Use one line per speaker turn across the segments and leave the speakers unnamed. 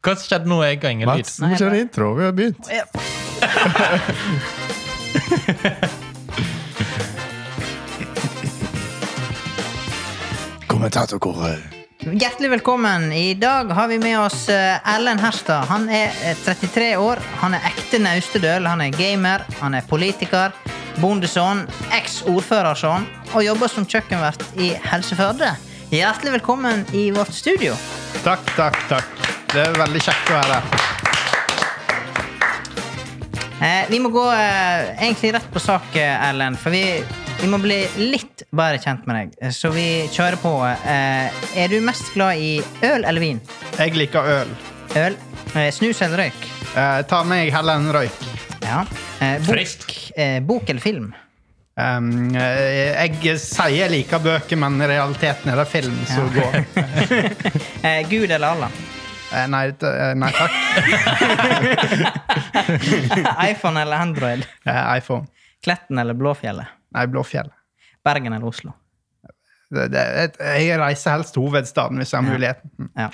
Hva skjedde nå? Jeg ga ingen lyd.
Mats, nå
Nei,
kjører
bare-
intro. Vi har begynt.
Ja.
Kommentatorkoret.
Hjertelig velkommen. I dag har vi med oss eh, Erlend Herstad. Han er eh, 33 år. Han er ekte naustedøl. Han er gamer, han er politiker, bondesønn, eks-ordførersønn og jobber som kjøkkenvert i Helse Førde. Hjertelig velkommen i vårt studio.
Takk, takk, takk. Det er veldig kjekt å være her.
Eh, vi må gå eh, egentlig rett på sak, eh, Erlend, for vi, vi må bli litt bedre kjent med deg. Eh, Så vi kjører på. Eh, er du mest glad i øl eller vin?
Jeg liker øl.
Øl? Eh, snus eller røyk?
Eh, ta meg heller en røyk.
Ja. Eh, bok,
Frisk.
eh, bok eller film?
Em, eh, jeg sier jeg liker bøker, men i realiteten er det film som går.
Eh, Gud eller Allah?
Eh, nei, t- eh, nei takk.
iPhone eller Android?
Eh, iPhone.
Kletten eller Blåfjellet?
Nei, Blåfjell.
Bergen eller Oslo?
Det, det, jeg reiser helst til hovedstaden hvis jeg har muligheten.
Ja.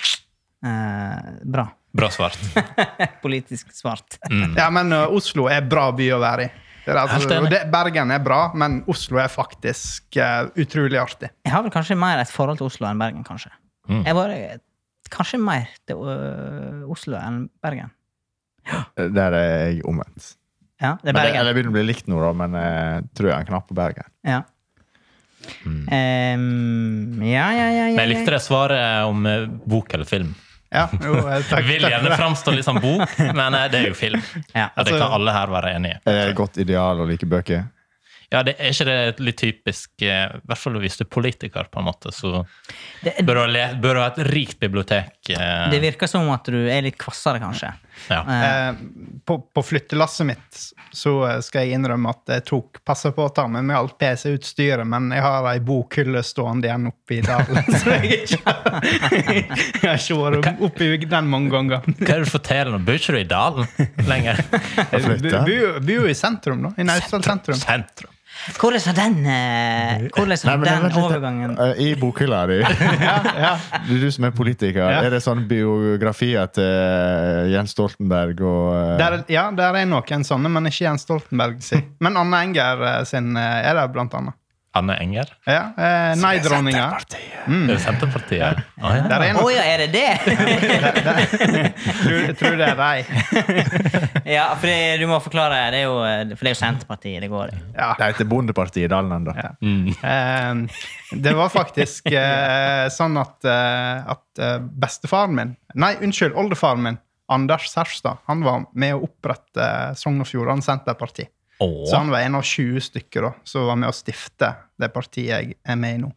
Eh, bra.
Bra svart. Mm.
Politisk svart.
Ja, men eh, Oslo er bra by å være i. Det er,
Helt
altså,
enig.
og det, Bergen er bra, men Oslo er faktisk eh, utrolig artig.
Jeg har vel kanskje mer et forhold til Oslo enn Bergen, kanskje.
Mm.
Jeg var eh, kanskje mer til øh, Oslo enn Bergen.
Eh, Der er jeg omvendt.
Ja, det er
Men det,
Bergen.
eller det begynner å bli likt nå, da, men jeg tror jeg er en knapp på Bergen.
Ja. Ehm, ja, ja, ja, ja.
Mm. Men jeg likte det svaret om eh, bok eller film.
Ja, jo, eh,
Jeg
takk,
vil
takk for
gjerne
det.
framstå litt som bok, men eh, det er jo film.
Ja.
Og det
Altså- Eh.
kan alle her være enige i.
Er det et godt ideal å like bøker?
Ja, det er ikke det litt typisk eh, I hvert fall hvis du er politiker, på en måte, så
Det,
bør du ha, le bør du ha et rikt bibliotek. eh,
det virker som at du er litt kvassere, kanskje.
ja.
Eh,
Eh, på, på flyttelasset mitt så eh, skal jeg innrømme at jeg tok passer på å ta med meg alt PC-utstyret, men jeg har ei bokhylle stående igjen oppe i dalen. Så jeg ikke Jeg har ikke vært oppi den mange ganger.
Hva er det du forteller nå? Bor ikke du i dalen lenger?
Jeg
flytte?
bor jo- bor jo i sentrum, da. I Naustdal sentrum.
Sentrum.
hvordan har den, eh, hvordan har
Nei, men
den
vent litt.
overgangen
Eh, I bokhylla di. Det er du som er politiker.
Ja.
Er det sånn biografier til eh, Jens Stoltenberg og eh,
Der, ja, der er noen sånne, men ikke Jens Stoltenberg sin. Men Anne Enger eh, sin eh, er der, blant annet.
Anne Enger?
Ja, eh, Nei-dronninga. Mm,
Det er Senterpartiet? Å, ja.
Der
Å
er noen.
ja, er det det?
Tror, tror det er de.
ja, for det, du må forklare. Det er jo, eh, for det er jo Senterpartiet det går i.
Ja.
Det heter Bondepartiet i dalen ennå.
Ja.
Mm.
Eh, det var faktisk eh, sånn at, eh, at eh, bestefaren min Nei, unnskyld, oldefaren min, Anders Serstad, han var med å opprette eh, Sogn og Fjordane Senterparti.
Å.
Så han var en av 20 stykker da, som var med å stifte det partiet jeg er med i nå.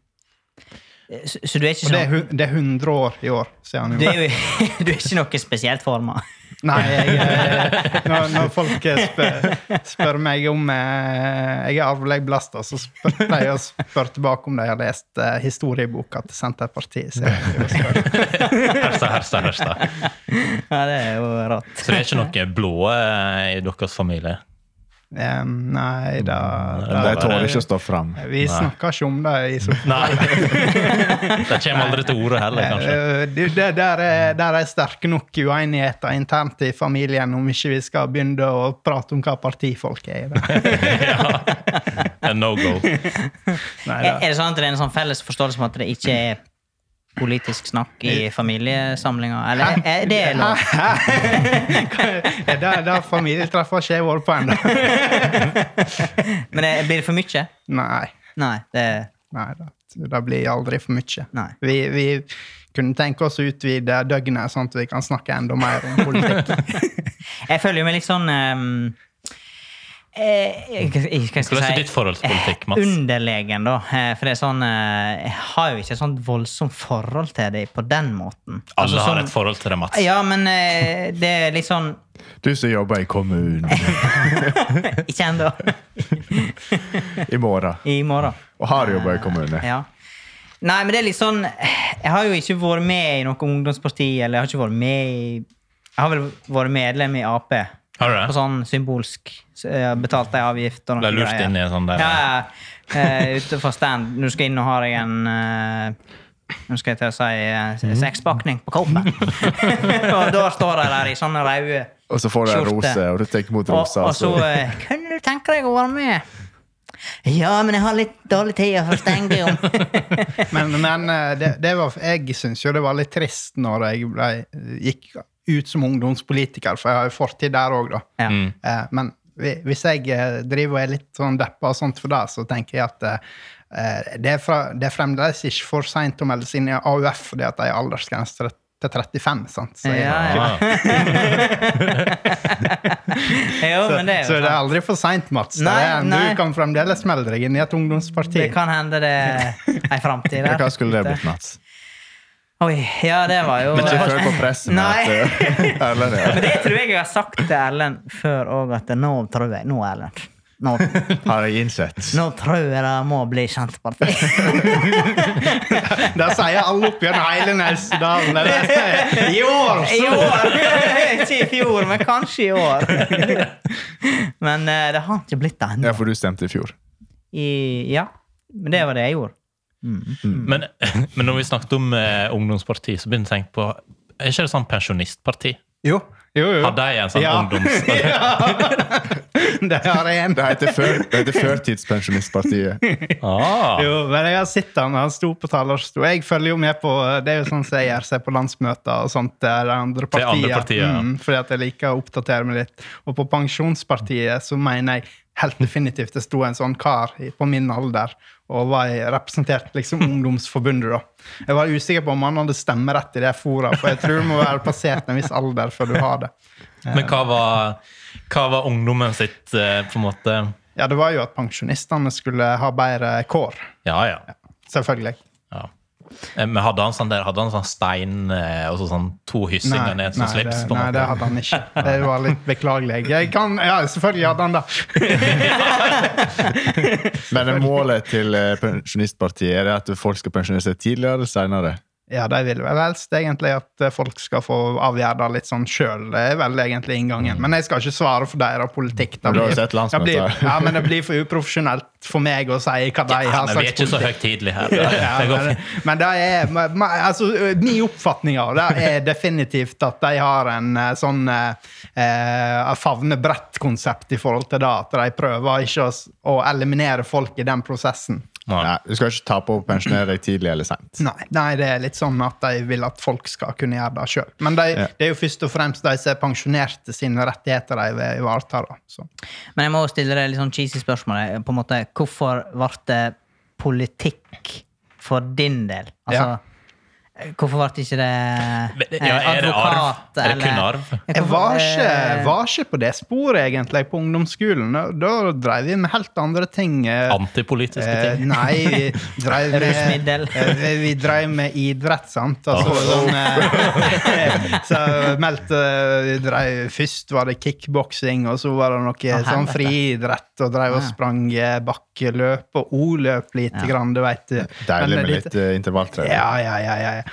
Eh, Så, så du er ikke
Og det er,
sånn
hu- det er 100 år i år, sier han
du
jo.
er, jo, du er ikke noe spesielt forma.
Nei, jeg, eh, når, når folk eh, spør, spør meg om eh, jeg er arvelig belasta, så spør de og spør tilbake om de har lest eh, historieboka til Senterpartiet. Så jeg, jeg spør.
Herstad, herstad, herstad.
Ja, det er jo rått.
Så det er ikke noe blå eh, i deres familie?
Eh, nei,
Mm,
da, da
De tåler ikke å stå fram.
Vi snakker ikke om det. i så
Nei. Det kommer aldri til ordet heller, kanskje.
Eh, det, det der, er, der er sterke nok uenigheter internt i familien om ikke vi skal begynne å prate om hva partifolk er. Da.
A no go.
Nei,
Er,
da.
er det sånn at det er en sånn felles forståelse om at det ikke er politisk snakk i familiesamlinger? Eller er er det lov?
Det der, der familietreffer ikke jeg har vært på ennå.
Men det, blir det for mye?
Nei,
Nei. Det,
nei da. det blir aldri for mye.
Nei.
Vi, vi kunne tenke oss å utvide døgnet, sånn at vi kan snakke enda mer om politikk.
jeg føler jo meg litt sånn ehm, eh, hva skal jeg
Hvordan
si? Eh,
er ditt forhold til politikk, Mats?
Underlegen, da. Eh, For det er sånn eh, Jeg har jo ikke et sånt voldsomt forhold til det på den måten.
Altså,
Alle har
sånn-
et forhold til det, Mats.
Ja, men eh, det er litt sånn
Du som jobber i kommunen
Ikke ennå.
i morgen.
I morgen. Eh,
Og har jobba i kommune.
Ja. Nei, men det er litt sånn Jeg har jo ikke vært med i noe ungdomsparti, eller jeg har ikke vært med i Jeg har vel vært medlem i Ap.
Har du
På
det?
sånn symbolsk så eh, jeg har betalt ei avgift og noe
Ble lurt
greier.
inn i en sånn der-
Ja, ja. Eh, utenfor stand. Nå skal jeg inn og ha deg en eh, Nå skal jeg til å si eh, sekspakning på Coop. og da står de der i sånne røde
Og så får du en
Skjorte.
rose, og du tar ikke imot
og,
rosa.
og så eh, Kunne du tenke deg å være med? Ja, men jeg har litt dårlig tid, jeg får stenge om.
Men, men eh, det, det var, jeg syns jo det var litt trist når jeg ble, gikk ut som ungdomspolitiker, for jeg har jo fortid der òg, da.
Ja.
Mm.
Eh, Men hvi- hvis jeg eh, driver og er litt sånn deppa og sånt for det, så tenker jeg at eh, eh, det er, fra, det er fremdeles ikke for seint å melde seg inn i AUF fordi at de er aldersgrense til 35. sant? Så, jeg-
Ja, ja.
Ah,
Jo, men det
så
er jo sånn. sant.
det er aldri for seint, Mats. Det
Nei,
er-
nei.
Du kan fremdeles melde deg inn i et
Det
ungdomsparti.
kan hende det er ei framtid der.
Hva skulle det blitt, Mats?
Oi, ja, det var jo
Ikke føl på presset med
Nei.
at eh, Erlend
Men
er
det tror jeg jeg har sagt til Erlend før òg, at nå tror jeg Nå, Erlend. Nå,
Har jeg innsett.
nå tror jeg det må bli Senterpartiet.
Det sier alle opp gjennom hele Nelsedalen. Det er det jeg sier. I år!
I
Så.
år! Ikke i fjor, men kanskje i år. Men eh, det har ikke blitt det
Ja,
ennå.
for du stemte i fjor.
I- Ja. Men det var det jeg gjorde.
Men, men når vi snakket om eh, ungdomsparti, så begynte jeg å tenke på Er ikke det sånn pensjonistparti?
Jo. Jo, jo.
Har de en sånn
Ja.
ungdoms...
Det har jeg en.
Det heter, før, det heter Førtidspensjonistpartiet.
Ah.
Jo, men jeg har sett han, han sto på talerstolen. Jeg følger jo med på Det er jo sånn som jeg gjør seg på landsmøter og sånt. Det er andre
Det er
partier.
andre partier, ja.
mm, fordi at jeg liker å oppdatere meg litt. Og på Pensjonspartiet så mener jeg helt definitivt det sto en sånn kar i- på min alder og var i- representert liksom ungdomsforbundet, da. Jeg var usikker på om han hadde stemmerett i det fora, for jeg tror du må være passert en viss alder før du har det.
Men hva var, hva var ungdommen sitt eh, på en måte
Ja, det var jo at pensjonistene skulle ha bedre kår.
Ja, ja.
Selvfølgelig.
ja. Eh, Men hadde han sånn der, hadde han sånn stein eh, og så sånn to hyssinger ned som slips?
det,
på en
nei,
måte?
det hadde han ikke. Det var litt beklagelig. Jeg kan, ja, selvfølgelig hadde han det.
Men målet til eh, Pensjonistpartiet er det at folk skal pensjonere seg tidligere eller senere?
Ja, de vil vel helst egentlig at eh, folk skal få avgjøre det litt sånn sjøl. Det er vel egentlig
Mm.
inngangen. Men jeg skal ikke svare for deres politikk. Det
Men du har jo sett landsmøtet.
det blir, ja, men det blir for uprofesjonelt for meg å si hva de
Ja,
har
men vi er
sagt.
ikke så høytidelige her.
Ja,
Det går
men,
fint.
men det er men- men, altså, ø, Min oppfatning av det er definitivt at de har en eh, sånn eh, favne-bredt-konsept i forhold til det. At de prøver ikke å, s- å eliminere folk i den prosessen.
Nei.
Nei, du skal ikke tape på å pensjonere deg tidlig eller sent.
Nei, nei, det er litt sånn at de vil at folk skal kunne gjøre det sjøl. Men de,
Ja.
det er jo først og fremst de som er pensjonerte, sine rettigheter de vil ivareta. da. Så.
Men jeg må jo stille deg litt sånn cheesy spørsmål. eh, På en måte, hvorfor ble det politikk for din del? Altså, Hvorfor ble det ikke det eh,
Ja, er det arv?
advokat?
Er det kun
eller-
arv?
Jeg
Hvorfor-
var ikke,
eh,
var ikke på det sporet, egentlig, på ungdomsskolen. Da, da dreiv vi med helt andre ting. eh,
Antipolitiske
Eh,
ting?
nei, vi drev med
Rusmiddel.
eh, vi- vi drev med idrett, sant. Altså, sånn, eh, så meldte vi drev, Først var det kickboksing, og så var det noe
Å,
sånn
helvete.
friidrett, og drev og
Ja.
sprang eh, bakkeløp og oløp lite
Ja.
grann, du veit.
Deilig med litt eh, intervalltrening.
Ja, ja, ja. ja. ja.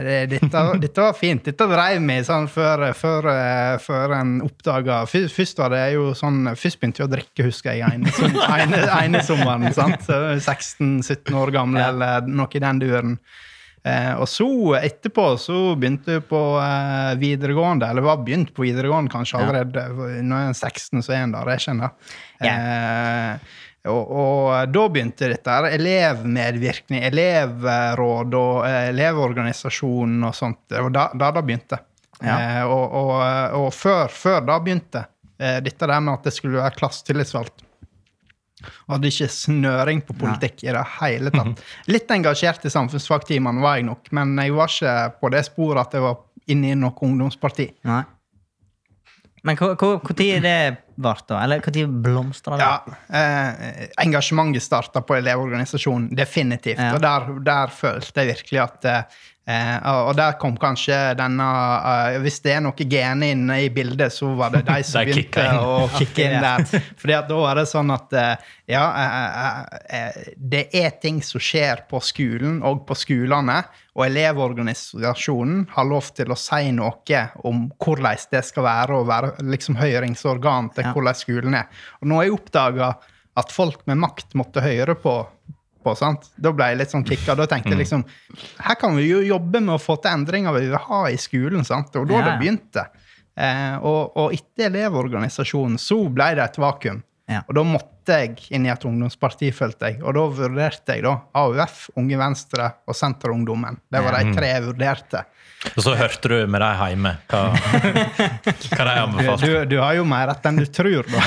det- Dette, dette var fint. Dette dreiv vi sånn før, før, eh, før en oppdaga Fy- Først var det jo sånn Først begynte jeg å drikke, husker jeg, ene, som- ene, ene sommeren. sant? Så eh, 16-17 år gammel, eller noe i den duren. Eh, og så, etterpå, så begynte jeg på eh, videregående, eller var begynt på videregående kanskje allerede. Når en er 16, så er en der, jeg kjenner. Eh, og, og da begynte dette her. Elevmedvirkning, elevråd og eh, elevorganisasjon og sånt. Det var da da det begynte.
Ja.
Eh, og og, og før, før da begynte eh, dette der med at det skulle være klassetillitsvalgt. Og hadde ikke snøring på politikk i det hele tatt. Litt engasjert i samfunnsfagtimene var jeg nok, men jeg var ikke på det sporet at jeg var inne i noe ungdomsparti.
Nei. Men hvor- hvor hvor tid det ble da? Eller hvor tid blomstra det?
Ja, eh, engasjementet starta på Elevorganisasjonen, definitivt.
Ja.
Og der, der følte jeg virkelig at eh, Og og der kom kanskje denne eh, Hvis det er noe gen inne i bildet, så var det de som
Der kicka
begynte
inn.
å kicke inn
Ja.
der. Fordi at da er det sånn at eh, ja, eh, eh, eh, det er ting som skjer på skolen og på skolene, og Elevorganisasjonen har lov til å si noe om hvordan det skal være å være liksom høringsorgan til
Ja.
hvordan skolen er. Og nå har jeg oppdaga at folk med makt måtte høre på på. sant? Da ble jeg litt sånn kicka.
Mm.
Da tenkte jeg liksom Her kan vi jo jobbe med å få til endringer vi vil ha i skolen. sant? Og da
Ja,
det
ja.
begynte. Eh, og, og etter Elevorganisasjonen så ble det et vakuum.
Ja.
Og da måtte jeg inn i et ungdomsparti, følte jeg. Og da vurderte jeg da AUF, Unge Venstre og Senterungdommen. Det var de tre jeg vurderte.
Og så hørte du med de hjemme hva, hva de anbefalte.
Du, du har jo mer rett enn du tror, da.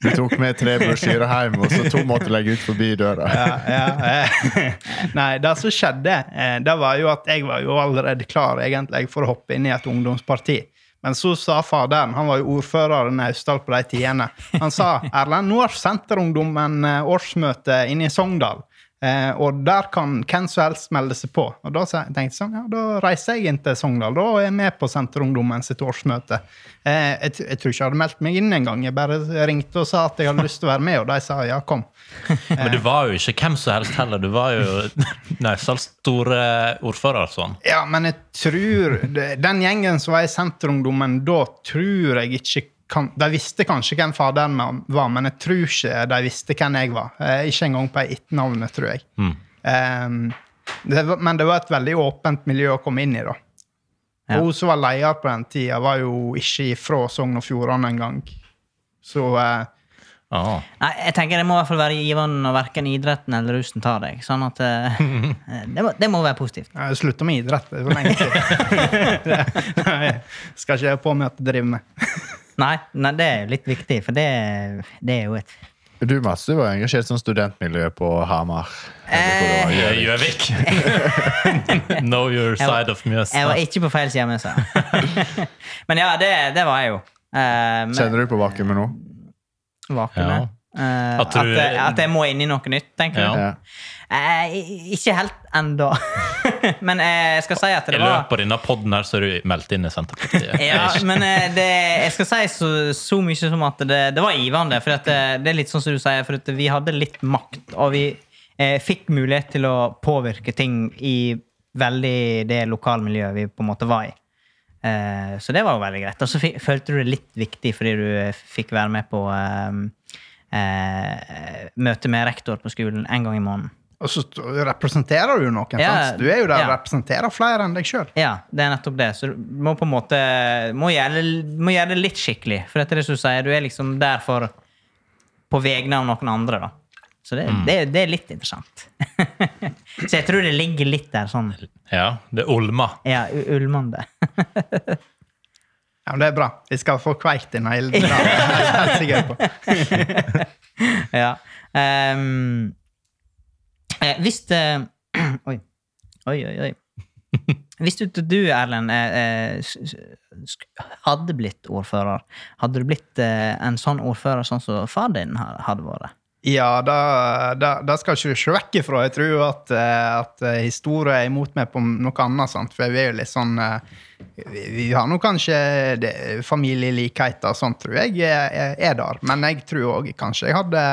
Vi tok med tre brosjyrer hjem, og så to måtte legge ut forbi døra.
ja, ja. eh. Nei, det som skjedde, eh, det var jo at jeg var jo allerede klar egentlig for å hoppe inn i et ungdomsparti. Men så sa faderen, han var jo ordføreren i Austdal på de tidene, han sa Erlend, nå har Senterungdommen eh, årsmøte inne i Sogndal. Eh, og der kan hvem som helst melde seg på. Og da sa- tenkte jeg sånn, ja, da reiser jeg inn til Sogndal da, og er med på Senterungdommen sitt årsmøte. Eh, jeg, t- jeg tror ikke jeg hadde meldt meg inn engang. Jeg bare ringte og sa at jeg hadde lyst til å være med, og de sa ja, kom. eh,
Men du var jo ikke hvem som helst heller. Du var jo Naustdals store ordfører. sånn.
Ja, men jeg tror Den gjengen som var i Senterungdommen da, tror jeg ikke kan, De visste kanskje hvem faderen min var, men jeg tror ikke de visste hvem jeg var. Eh, ikke engang på etternavnet, tror jeg.
Mm.
Eh, det var, men det var et veldig åpent miljø å komme inn i, da.
Ja.
Og hun som var leder på den tida, var jo ikke fra Sogn og Fjordane engang. Så eh,
Ah.
Nei, jeg tenker Det må i hvert fall være givende når verken idretten eller rusen tar deg. sånn at eh, det, må, det må være positivt.
jeg slutta med idrett for lenge siden. Det- det skal ikke jeg på med at jeg driver med.
Nei, nei det er jo litt viktig, for det, det er jo et
Du, Mats, du var engasjert som studentmiljø på Hamar. Eller hvor det var.
Eh, Gjøvik! Know your side of
Jeg var
Mjøsa.
ikke på feil side av møsa. Men ja, det, det var jeg jo. Eh, men,
Kjenner du på vakuumet nå?
Ja.
vakuumet. Eh,
At
at,
du-
jeg- at jeg må inn i noe nytt, tenker
Ja.
du?
Ja.
Eh, i- ikke helt ennå. men eh, jeg skal si at
I
det var
løpet av denne podden her så er du meldt inn i Senterpartiet.
Ja, men eh, det, jeg skal si så, så mye som at det, det var givende. For at det, det er litt sånn som du sier, for at vi hadde litt makt, og vi eh, fikk mulighet til å påvirke ting i veldig det lokalmiljøet vi på en måte var i. Eh, så det var jo veldig greit. Og så fi- følte du det litt viktig fordi du eh, fikk være med på eh, eh, møte med rektor på skolen en gang i måneden.
Og så st- representerer du noen.
Ja,
sant? Du er jo der og
ja.
representerer flere enn deg sjøl.
Ja, det er nettopp det. Så du må på en måte må gjøre, det- må gjøre det litt skikkelig. For dette er det som du sier, du er liksom der for på vegne av noen andre, da. Så det, det, det er litt interessant. Så jeg tror det ligger litt der, sånn
Ja, det er Olma.
ja, u- ulmende.
Ja, men det er bra. Vi skal få kveikt i neglen. Det er jeg helt sikker på.
ja. Ehm, eh, hvis eh, Oi. Oi, oi, oi. Hvis du, du Erlend, eh, eh, s- s- sk- hadde blitt ordfører, hadde du blitt eh, en sånn ordfører sånn som far din ha- hadde vært?
Ja, da, da, da skal ikke du se vekk ifra. Jeg tror jo at, eh, at eh, historien er imot meg på noe annet. Sant? For vi er jo litt sånn eh, Vi, vi har nå kanskje det- familielikheter, sånn tror jeg eh, er der. Men jeg tror òg kanskje jeg hadde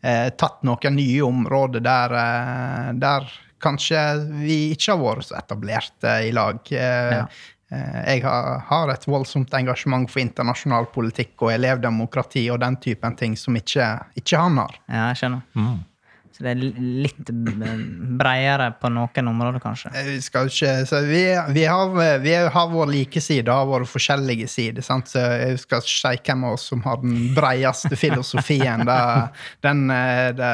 eh, tatt noen nye områder der, eh, der kanskje vi ikke har vært så etablerte i lag. Eh,
Ja.
eh, Jeg har, har et voldsomt engasjement for internasjonal politikk og elevdemokrati og den typen ting som ikke, ikke han har.
Ja, jeg skjønner.
Mm.
Så det er li- litt b- bredere på noen områder, kanskje.
Eh, Vi skal ikke, så vi, vi, har, vi har vår like side og våre forskjellige sider. Sant? Så jeg skal ikke si hvem av oss som har den breieste filosofien. Det, den, eh, det,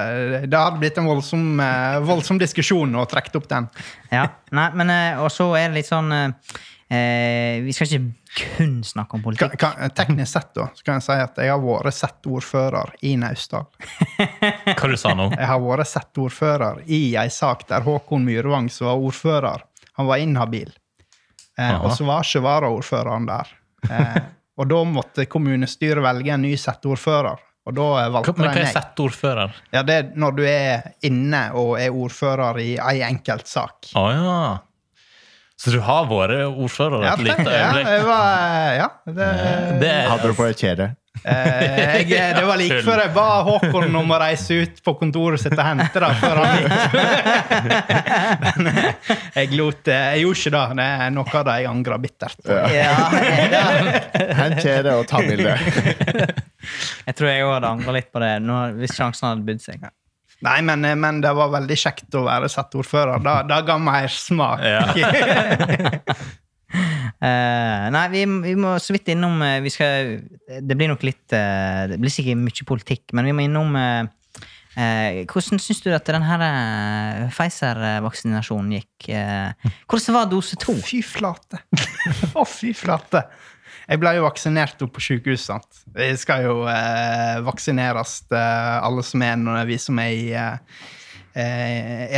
det hadde blitt en voldsom, eh, voldsom diskusjon å trekke opp den.
Ja, nei, men eh, Og så er det litt sånn eh, eh, Vi skal ikke kun snakke om
Kan,
politikk.
kan, teknisk sett da, så kan jeg si at jeg har vært settordfører i Naustdal.
Hva du sa nå?
Jeg har vært settordfører i ei sak der Håkon Myrvang, som var ordfører, han var inhabil. Eh,
Aha.
og så var ikke varaordføreren der. Eh, og da måtte kommunestyret velge en ny settordfører. Og da eh,
Hva-
valgte
Men hva
de
er
meg.
settordfører?
Ja, det er når du er inne og er ordfører i ei enkelt sak.
Å ja. Så du har vært ordfører
Ja,
et lite
ja,
øyeblikk?
jeg var, eh, ja, det,
Det er,
Hadde du på deg kjede?
Eh, jeg, det var like
Tull.
før jeg ba Håkon om å reise ut på kontoret sitt og hente det. før han gikk. Men eh, jeg lot det. Jeg gjorde ikke det. Det er noe av det jeg angrer bittert på.
Ja, det er det.
Hent kjedet og ta bilde.
Jeg tror jeg òg hadde angra litt på det nå, hvis sjansen hadde budt seg.
Nei, men, eh, men det var veldig kjekt å være settordfører. Da, da ga mersmak.
Eh, nei, vi, vi må så vidt innom eh, vi skal, Det blir nok litt eh, Det blir sikkert mye politikk, men vi må innom eh, eh, Hvordan syns du at denne uh, Pfizer-vaksinasjonen gikk? eh? hvordan var dose to?
Å, fy flate! Å, fy flate! Jeg ble jo vaksinert opp på sykehus, sant. Vi skal jo eh, vaksineres, eh, alle som er når vi som er i eh, eh,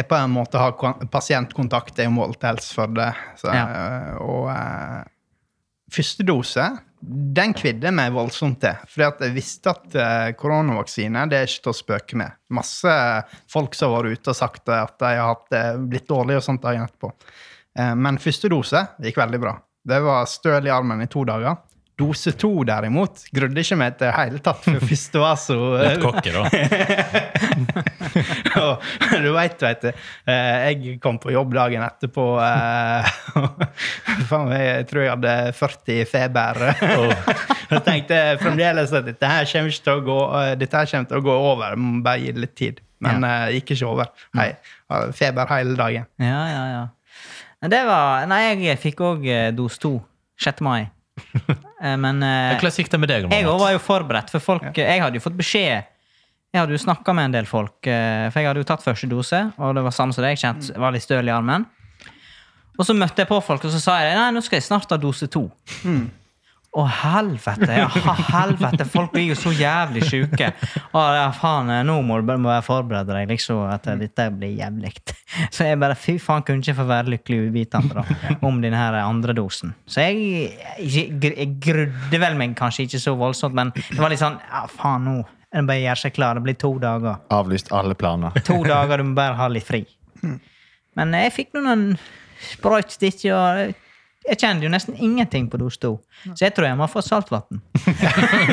er på en måte har kon- pasientkontakt, er jo målet til Helsefødde. Så,
Ja.
eh, Og eh, første dose, den kvidde meg voldsomt til. Fordi at jeg visste at eh, koronavaksine, det er ikke til å spøke med. Masse folk som har vært ute og sagt at de har hatt, eh, blitt dårlige og sånt dagen etterpå. Eh, Men første dose gikk veldig bra. Det var støl i armen i to dager. Dose to, derimot, grudde ikke meg til i det hele tatt, for første var så
Litt cocky, da.
og du veit, veit du. eh, Jeg kom på jobb dagen etterpå. eh, Faen, meg, jeg tror jeg hadde 40 i feber. Jeg tenkte fremdeles at dette her kommer ikke til å gå, eh, dette her kommer til å gå over. Jeg må bare gi det litt tid. Men
Ja.
eh, det gikk ikke over. Nei, jeg hadde feber hele dagen.
Ja, ja, ja. Nei, Det var Nei, jeg fikk òg dose to 6. mai. Eh, men eh,
Hvordan gikk det med deg?
Jeg òg
Mats?
var jo forberedt, for folk, jeg hadde jo fått beskjed. Jeg hadde jo snakka med en del folk, eh, for jeg hadde jo tatt første dose. Og det var samme som det, jeg kjente jeg var litt støl i armen. Og så møtte jeg på folk, og så sa jeg nei, nå skal jeg snart ha dose to. Å, helvete! Ja, ha- helvete! Folk blir jo så jævlig sjuke. Å, ja, faen, eh, nå må du bare må jeg forberede deg, liksom, at eh, dette blir jævlig. Så jeg bare fy faen, kunne ikke få være lykkelig uvitende da, om den her andre dosen. Så jeg, jeg, gr- jeg grudde vel meg kanskje ikke så voldsomt, men det var litt sånn ja, faen, nå. En bare gjør seg klar. Det blir to dager.
Avlyst alle planer.
To dager du må bare ha litt fri. Men jeg fikk nå noen sprøytstikker, og jeg kjente jo nesten ingenting på dose to. Så jeg tror jeg må ha fått saltvann.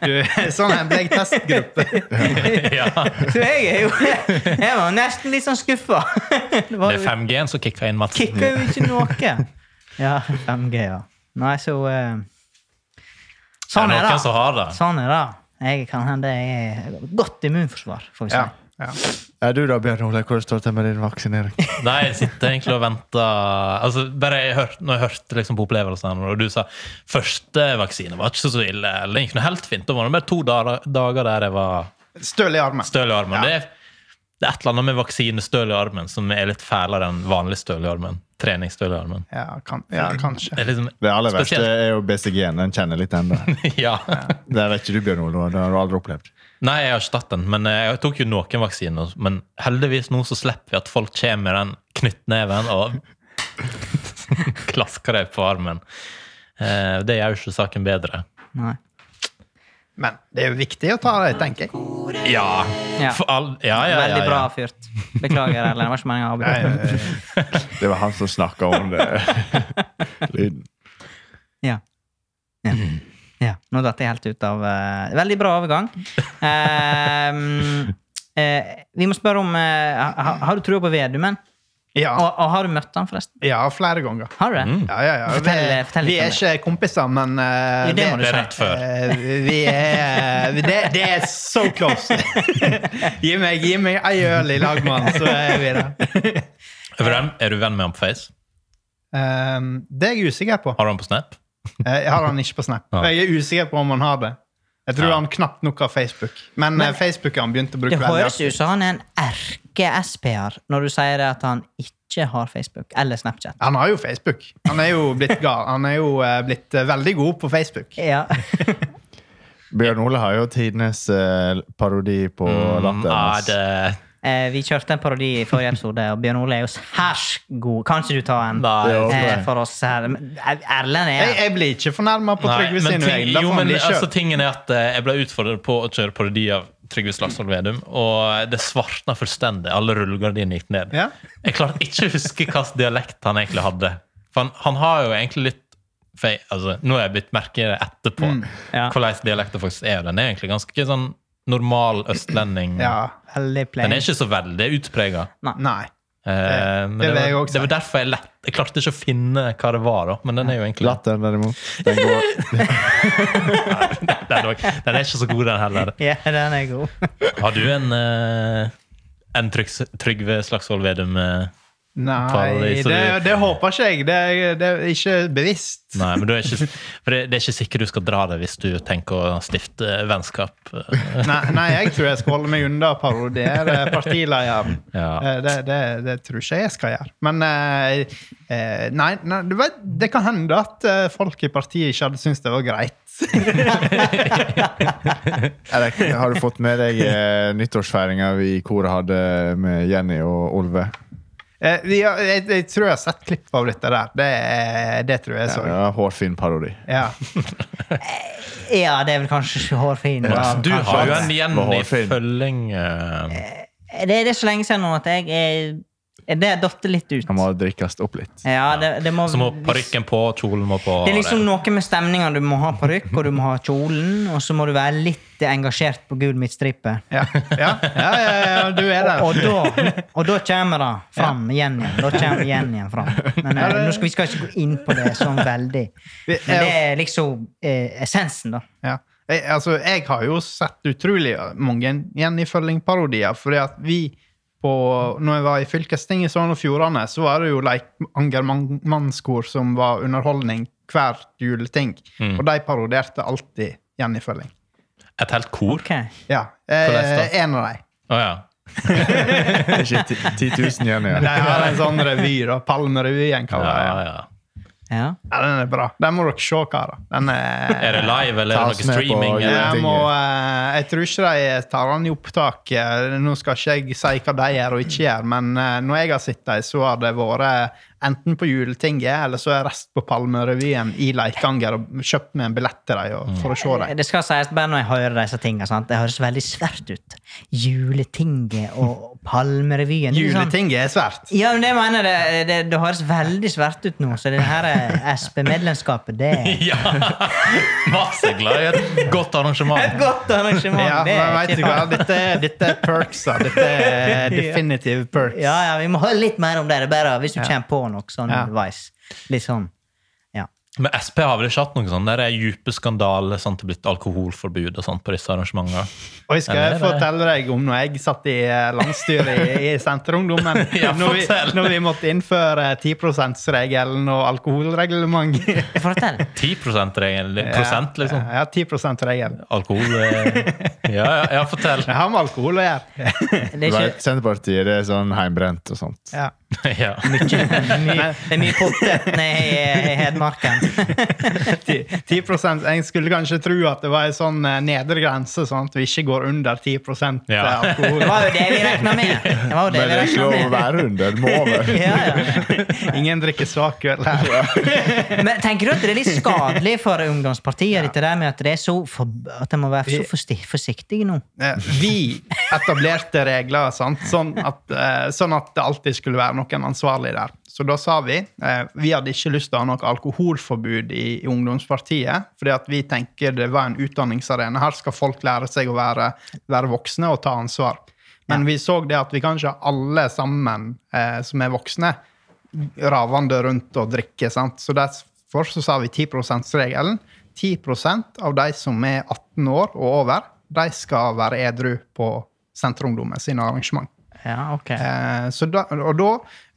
Du, sånn her ble jeg testgruppe.
ja.
Så jeg er jo Jeg var nesten litt sånn skuffa. Det var
Det er
jo
5G-en som kicka inn, Mats.
Kicka jo ikke noe. Ja, 5G, ja. Nei, så eh, Sånn
det
er
er noen
det.
som har det.
Sånn er det. Jeg kan hende jeg er godt immunforsvar, får vi si.
Ja, ja.
Er du da, Bjørn Ole, hvordan står det til med din vaksinering?
Nei, jeg sitter egentlig og venter altså, Bare jeg hørte, når jeg hørte liksom på opplevelsene, og du sa første vaksine var ikke så ille, eller ikke noe helt fint, da var det bare to dager, dager der jeg var
Støl i armen.
støl i armen. Det, er, det er et eller annet med vaksinestøl i armen som er litt fælere enn vanlig støl i armen. Treningsstøl i armen.
Ja, kan, ja, kanskje.
Det er liksom
Det aller verste
spesielt.
er jo BCG-en. Den kjenner litt ennå.
Ja.
Det vet ikke du, Bjørn Ole. Det har du aldri opplevd.
Nei, jeg har ikke tatt den, men eh, jeg tok jo noen vaksiner. Men heldigvis nå så slipper vi at folk kommer med den knyttneven og klasker deg på armen. Eh, Det gjør jo ikke saken bedre.
Nei.
Men det er jo viktig å ta det, tenker jeg.
Ja.
Ja.
For all, ja, ja, ja,
Veldig
ja.
bra fyrt. Beklager, Erlend. Det var ikke meningen å
Nei,
avbryte.
eh,
Det var han som snakka om det. Lyden.
Ja. Ja.
Mm.
ja. Nå datt jeg helt ut av eh, Veldig bra overgang. Ehm, eh, vi må spørre om eh, ha, Har du trua på Vedumen? Og,
Ja,
og har du møtt han forresten?
ja, flere ganger.
Har du det?
Mm.
Ja, ja, ja.
Fortell-
vi,
fortell litt
vi er
om
ikke kompiser, men eh,
Jo, det må
vi-
du
Det er
si.
rett før.
Eh, vi er eh, det, det er so close. gi, meg, gi meg ei øl i lag med han, så er vi der.
Er du venn- Er du venn med han på Face?
Um, det er jeg usikker på.
Har du han på Snap?
Eh, Jeg har han ikke på Snap.
Ja.
Jeg er usikker på om han har det. Jeg tror
Ja.
han knapt nok har Facebook. Men, eh, Facebook har han begynt å bruke
Det høres
aktivt.
ut som han er en erke-SP-er når du sier at han ikke har Facebook eller Snapchat.
Han har jo Facebook. Han er jo blitt, gal. Han er jo eh, blitt eh, veldig god på Facebook.
Ja.
Bjørn Ole har jo tidenes eh, parodi på latter.
Ja, ah, det,
Eh, Vi kjørte en parodi i forrige episode, og Bjørn Ole er jo særs god. Kan ikke du ta en
Nei.
Det er også
eh,
meg.
for oss her? Men, eh, Erlend er
Jeg, jeg blir ikke fornærma på
nei,
Trygve
men
sin
ting,
vei. Da
jo,
får han
men
bli
altså,
kjørt.
tingen er at eh, jeg ble utfordret på å kjøre parodi av Trygve Slagsvold Vedum, og eh, det svartna fullstendig. Alle rullegardinene gikk ned.
Ja.
Jeg klarte ikke å huske hvilken dialekt han egentlig hadde. For han, han har jo egentlig litt for jeg, altså, Nå har jeg blitt merke det etterpå
Mm.
ja.
hvordan dialekten faktisk er. og Den er egentlig ganske sånn normal østlending.
Ja, veldig plain.
Den er ikke så veldig utprega.
Nei.
Eh, men
det
det,
vil jeg
var,
også
det var
si.
derfor jeg lett Jeg klarte ikke å finne hva det var, da. Men den er jo egentlig
Latteren, derimot, den går
Den er, også- den er ikke så god, den heller.
Ja, den er god.
Har du en, eh, en Trygs- Trygve Slagsvold Vedum eh?
Nei,
Paradis, så
det,
du-
det håper ikke jeg. Det, er- det er ikke bevisst.
Nei, men du er ikke, for det, det er ikke sikkert du skal dra det hvis du tenker å stifte vennskap. eh,
Nei, nei, jeg tror jeg skal holde meg unna å parodiere partilederen.
Ja.
Eh, Det, det, det tror ikke jeg skal gjøre. Men eh, eh, nei, nei du vet, det kan hende at eh, folk i partiet ikke hadde syntes det var greit.
Eller, Har du fått med deg eh, nyttårsfeiringa vi i koret hadde med Jenny og Olve?
Eh, vi har- jeg, jeg tror jeg har sett klipp av dette der. Det, er- det tror jeg
Ja,
så.
det var Hårfin parodi.
Ja.
Eh, Ja, det er vel kanskje ikke hårfin. da.
Du har jo en Jenny
Hva fin.
Følling eh,
Det er det er så lenge siden nå at jeg er Det har datt litt ut.
Han må drikkes opp litt.
Ja, det, det må,
Så må parykken på, kjolen må på.
Det er liksom noe med stemninga. Du må ha parykk, og du må ha kjolen, og så må du være litt engasjert på gul midtstripe.
Ja. Ja. Ja, ja, ja, du er der.
Og, og, da, og da kommer det fram igjen igjen. Da kommer det igjen igjen fram. Men eh, nå skal, vi skal ikke gå inn på det sånn veldig.
Vi-
Men det er liksom eh, essensen, da.
Ja. Jeg, altså, jeg har jo sett utrolig mange Jenny Følling-parodier. fordi at vi på, når jeg var i fylkestinget i Sogn og Fjordane, så var det jo Leikanger-mannskor som var underholdning hvert juleting.
Mm.
Og de parodierte alltid Jenny Følling.
Et helt kor.
Ok.
Ja,
Hvordan
eh,
da?
En av dem.
Å ja.
Det er Ikke ti- 10 000 Jenny.
De har en sånn revy, da. Palmerevyen,
Ja,
kaller jeg
ja,
den.
ja.
Ja.
Ja, den er bra. Den må dere se, karer. Den
Er
er
det live, eller
Ta
er
oss
det noe
med på
streaming?
Ja,
eller?
Jeg,
ting
må, eh, jeg tror ikke de tar den i opptak. Eh, Nå skal ikke jeg si hva de gjør og ikke gjør, men eh, når jeg har sett dem, så har det vært enten på Juletinget eller så er rest på Palmerevyen i Leikanger og kjøpt meg en billett til dem
Mm.
og- for å se dem.
Eh, Det skal sies bare når jeg hører disse tingene. Sant? Det høres veldig svært ut. Juletinget og Palmerevyen. Det er litt sånn-
Juletinget er svært.
Ja, men det mener jeg. Det, det, det høres veldig svært ut nå, så det her eh, SP-medlemskapet, det er
Ja! Maseglad i et godt
Et
arrangement.
godt arrangement.
Ja,
det
men
er
vet du
ikke
hva?
feil.
Dette, er- dette er perks, da. Dette er definitive perks.
Ja, ja, vi må høre litt mer om det. det er bare Hvis du kommer på noe sånn
Ja.
advice. Litt sånn. Ja.
Men SP har vel ikke hatt noe sånn der er dype skandaler, sånn at det er blitt alkoholforbud og sånt på disse arrangementene?
Og jeg skal
Ja, det er det.
fortelle deg om når jeg satt i eh, landsstyret i, i Senterungdommen.
Ja,
når, vi,
fortell.
når vi måtte innføre 10 %-regelen og alkoholreglementet.
Fortell.
10 regel, prosent, liksom?
Ja, 10 %-regelen.
Alkohol eh, Ja, ja, ja fortell.
Det har med alkohol å gjøre.
Det
Du
er
vet,
ikke
Senterpartiet det er sånn heimbrent og sånt.
Ja.
Ja.
mye, det er mye potet nede i, i Hedmarken.
10, 10 Jeg skulle kanskje tro at det var en sånn eh, nedre grense, sånn at vi ikke går under 10
Ja.
alkohol.
Det var jo det vi regna med. Det var jo det
Men det
vi
er ikke lov å
regnet med.
være under. Det må over.
Ja, ja.
Ingen drikker svak øl her.
Men tenker du at det er litt skadelig for ungdomspartier, dette der med at, det er så for, at de må være så forsi- forsiktige nå?
Eh, Vi etablerte regler sant? Sånn, at, eh, sånn at det alltid skulle være noen ansvarlig der. Så da sa vi eh, vi hadde ikke lyst til å ha noe alkoholforbud i, i ungdomspartiet. fordi at vi tenker det var en utdanningsarena. Her skal folk lære seg å være, være voksne og ta ansvar. Men vi så det at vi kan ikke ha alle sammen eh, som er voksne, ravende rundt og drikke. Sant? Så derfor så sa vi 10 %-regelen. 10 av de som er 18 år og over, de skal være edru på Senterungdommen sine arrangement.
Ja, ok.
Eh, så da, og da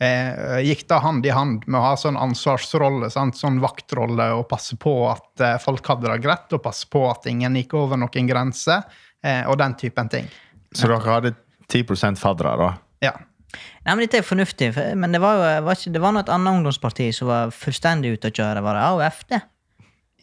eh, gikk det hand i hand med å ha sånn ansvarsrolle, sant? sånn vaktrolle, og passe på at eh, folk hadde det greit, og passe på at ingen gikk over noen grenser, eh, og den typen ting.
Så dere hadde 10 faddere, da?
Ja.
Nei, men Dette er fornuftig, for- men det var jo var ikke, det var noe et annet ungdomsparti som var fullstendig ute å kjøre. Var det AUF, det?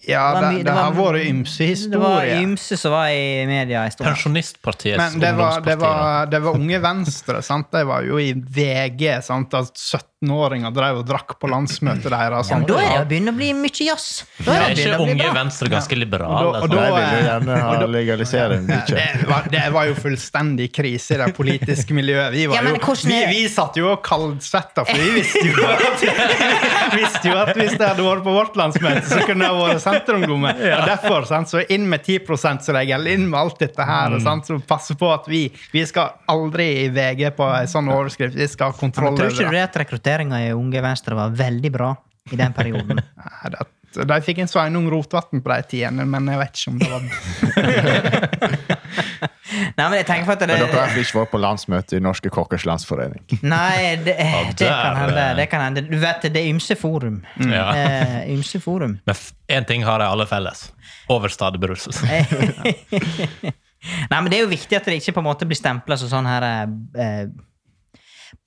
Ja,
var
det,
mye-
det,
det var-
har vært ymse
Det var
historier.
ymse som var i media en stund.
Pensjonistpartiets
Men det var, det,
ungdomsparti. da.
var, det var Unge Venstre. sant? De var jo i VG. sant? At 17-åringer drev og drakk på landsmøtet deres.
Ja, men
sant?
da er det å begynne å bli mye jazz. Da
Det er
er det å
ikke
begynne å bli
unge
bra.
Venstre ganske
Og
liberale?
da- og
sånn?
De vil jo
eh,
gjerne ha legalisering.
Ja,
Ikke?
det, var, det var jo fullstendig krise i det politiske miljøet. Vi, var
Ja, men
jo,
hvordan
vi,
er-
vi satt jo og kaldsvetta, for vi visste jo, at, vi visste jo at hvis det hadde vært på vårt landsmøte, så kunne det vært Senterungdommen. Og derfor, sant, så inn med 10 %-regel, inn med alt dette
Mm.
her. Sant, så passe på at vi, vi skal aldri i VG på en sånn overskrift. Vi skal
Ja,
ha
men
kontroll
Tror ikke
over
du det
det.
at rekrutteringa i Unge Venstre var veldig bra i den perioden?
Nei, det- De fikk en Sveinung Rotevatn på de tidene, men jeg vet ikke om det var
Nei, men jeg tenker for at
Men dere har
det
iallfall ikke vært på landsmøte i Norske kokkers landsforening.
Nei, det, det kan
der,
hende.
eh.
Det kan hende. Du vet, det er ymse forum.
Mm. Ja.
Eh, ymse forum.
Men én ting har de alle felles. Overstadig beruselse.
Eh, Nei, men det er jo viktig at det ikke på en måte blir stempla som sånn her eh,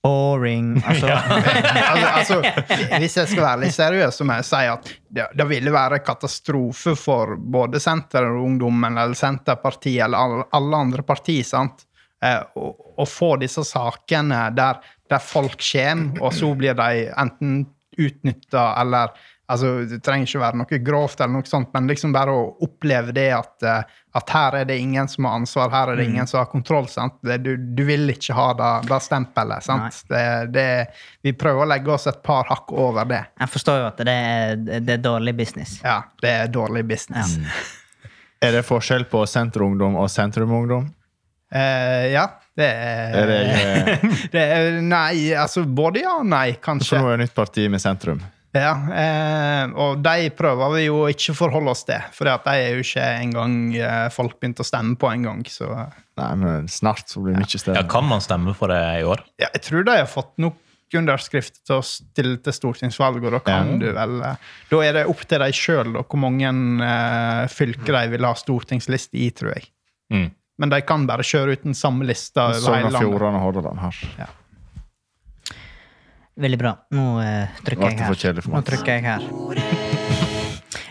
boring. Altså,
altså, altså, hvis jeg skal være litt seriøs, så må jeg si at det, det ville være katastrofe for både Senterungdommen eller Senterpartiet eller alle, alle andre partier sant? Eh, å, å få disse sakene der, der folk kommer, og så blir de enten utnytta eller altså, Det trenger ikke være noe grovt, eller noe sånt, men liksom bare å oppleve det at, eh, at her er det ingen som har ansvar, her er det ingen som har kontroll. sant? Det, du, du vil ikke ha det, det stempelet. sant? Det, det, vi prøver å legge oss et par hakk over det.
jeg forstår jo at det er, det er dårlig business.
Ja, det er dårlig business.
Er det forskjell på senterungdom og sentrumungdom?
Eh, ja, det
Er
er,
det, eh,
det er Nei, altså både ja og nei,
så
kanskje.
nå er det nytt parti med sentrum.
Ja, eh, og de prøver vi jo ikke å forholde oss til, for de er jo ikke engang eh, folk begynte å stemme på engang. Så
Nei, men snart så blir det mye
Ja,
større.
kan man stemme for det i år?
ja, jeg tror de har fått nok underskrifter til å stille til stortingsvalg, og da kan
Ja.
du vel eh, Da er det opp til deg sjøl hvor mange eh, fylker de vil ha stortingsliste i, tror jeg.
Mm.
Men de kan bare kjøre ut den samme lista over
Sogn
hele
og
landet.
Fjordane og Hordaland her.
Veldig bra. Nå eh, trykker
Ble
jeg
det
her.
for kjedelig for
Nå
Mats?
trykker jeg her.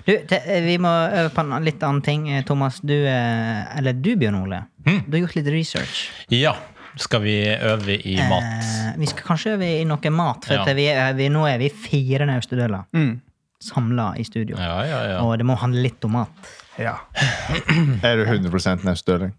Du, te, eh, vi må øve på en annen- litt annen ting. Eh, Thomas, du, eh, eller du Bjørn Ole, du har gjort litt research.
Ja. Skal vi øve i mat?
Eh, vi skal kanskje øve i noe mat, for
Ja.
at vi, er- vi, nå er vi fire naustedøler
Mm.
samla i studio.
Ja, ja, ja.
Og det må handle litt om mat.
Ja.
Er du 100 naustdøling?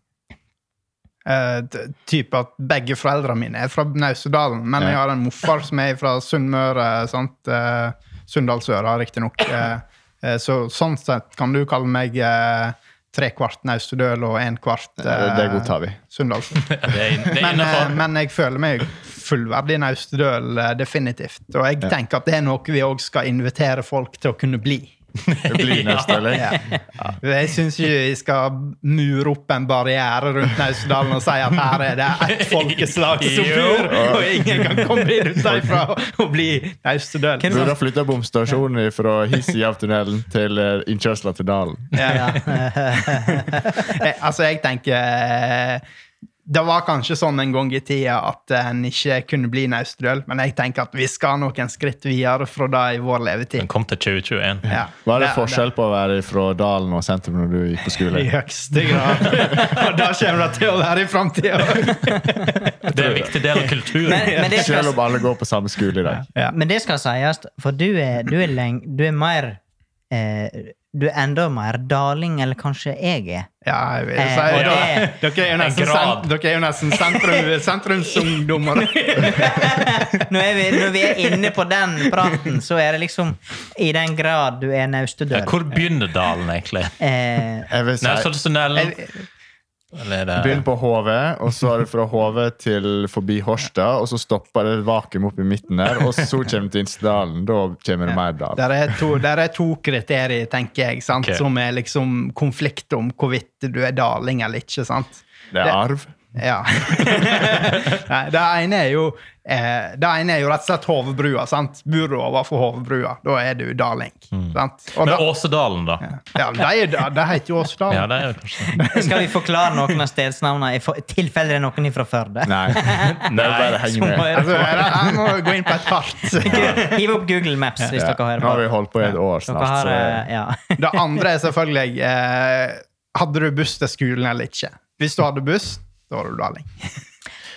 Eh, t- typ at begge foreldrene mine er fra Nausedalen, men
Ja.
jeg har en morfar som er fra Sunnmøre. sant? Eh, Sunndalsøra, riktignok. Eh, eh, så sånn sett kan du kalle meg eh, tre kvart Naustedøl og en kvart eh,
Det godtar vi.
Sunndals.
Det er, det er
Men, eh,
innenfor.
men jeg føler meg fullverdig Naustedøl, eh, definitivt. Og jeg tenker at det er noe vi òg skal invitere folk til å kunne bli.
Det blir naustdøling.
Ja. Jeg syns ikke vi skal mure opp en barriere rundt Naustdalen og si at her er det ett folkeslag som bor, og ingen kan komme inn utenfra og bli Naustdøl.
Hvem-
Burde ha flytta bomstasjonen fra Hisiavtunnelen til eh, innkjørselen til dalen.
Ja.
Ja.
Eh, Altså, jeg tenker eh, Det var kanskje sånn en gang i tida at en ikke kunne bli Naustdøl, men jeg tenker at vi skal noen skritt videre fra det i vår
Den
levetid.
kom til 2021.
Ja.
Var det forskjell på å være fra dalen og sentrum når du gikk på skole?
I høyeste grad. Og det kommer det til å være i framtida.
Det er en viktig del av kulturen.
Men det skal
Selv om alle går på samme skole i dag.
Ja.
Men det skal sies, for du er, du er, leng, du er mer eh, Du er enda mer daling, eller kanskje jeg er.
Ja, jeg vil
Eh,
si
og
det.
det-
Dere er jo nesten,
En grad.
sen, dere er jo nesten sentrum, sentrumsungdommer.
Når, er vi, når vi er inne på den praten, så er det liksom i den grad du er
Ja,
naustedør.
hvor begynner dalen, egentlig?
Eh,
Jeg vil si,
Naustdalstunnelen? Eller er det
Begynn på HV, og så er det fra HV til forbi Horstad, og så stopper det et vakuum opp i midten der, og så kommer du til Innsdalen. Da kommer det mer dal.
Der er to, der er to kriterier, tenker jeg, sant?
Ok.
som er liksom konflikt om hvorvidt du er daling eller ikke. sant?
Det er arv.
Ja. Nei, det ene er jo eh, Det ene er jo rett og slett Hovebrua. sant? Bor du overfor Hovebrua, da er du daling. sant?
Mm. Men
Og da,
Åsedalen, da?
ja, de, er- de heter jo Åsedal.
Ja, det er jo kanskje
Skal vi forklare noen av stedsnavnene i for- i tilfelle det er noen fra Førde?
Nei. Det er bare å henge med.
altså, jeg, jeg må gå inn på et kart.
Hiv opp Google Maps hvis
Ja.
dere hører
Nå har vi
på.
holdt på i et år
Dere
snart.
har,
Så
eh, ja.
Det andre er selvfølgelig eh, Hadde du buss til skolen eller ikke? Hvis du hadde buss, da var du daling.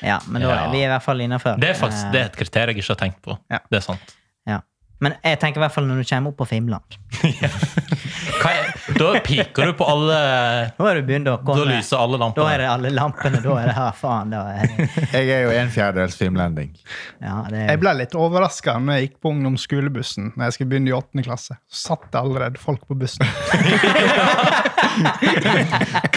ja, men da
Ja.
er vi i hvert fall innafor.
Det er faktisk det er et kriterium jeg ikke har tenkt på.
Ja.
Det er sant.
Ja. Men jeg tenker i hvert fall når du kommer opp på Fimland.
Hva er, da piker du på alle
Da er du begynt å
Da
komme.
lyser alle
Da er
lampene.
det alle lampene. Da er det her, faen. Da er det,
jeg er jo en fjerdedels finlending.
ja, det
Jeg
er,
ble litt overraska når jeg gikk på ungdomsskolebussen. Når jeg skulle begynne i åttende klasse. Så satt det allerede folk på bussen.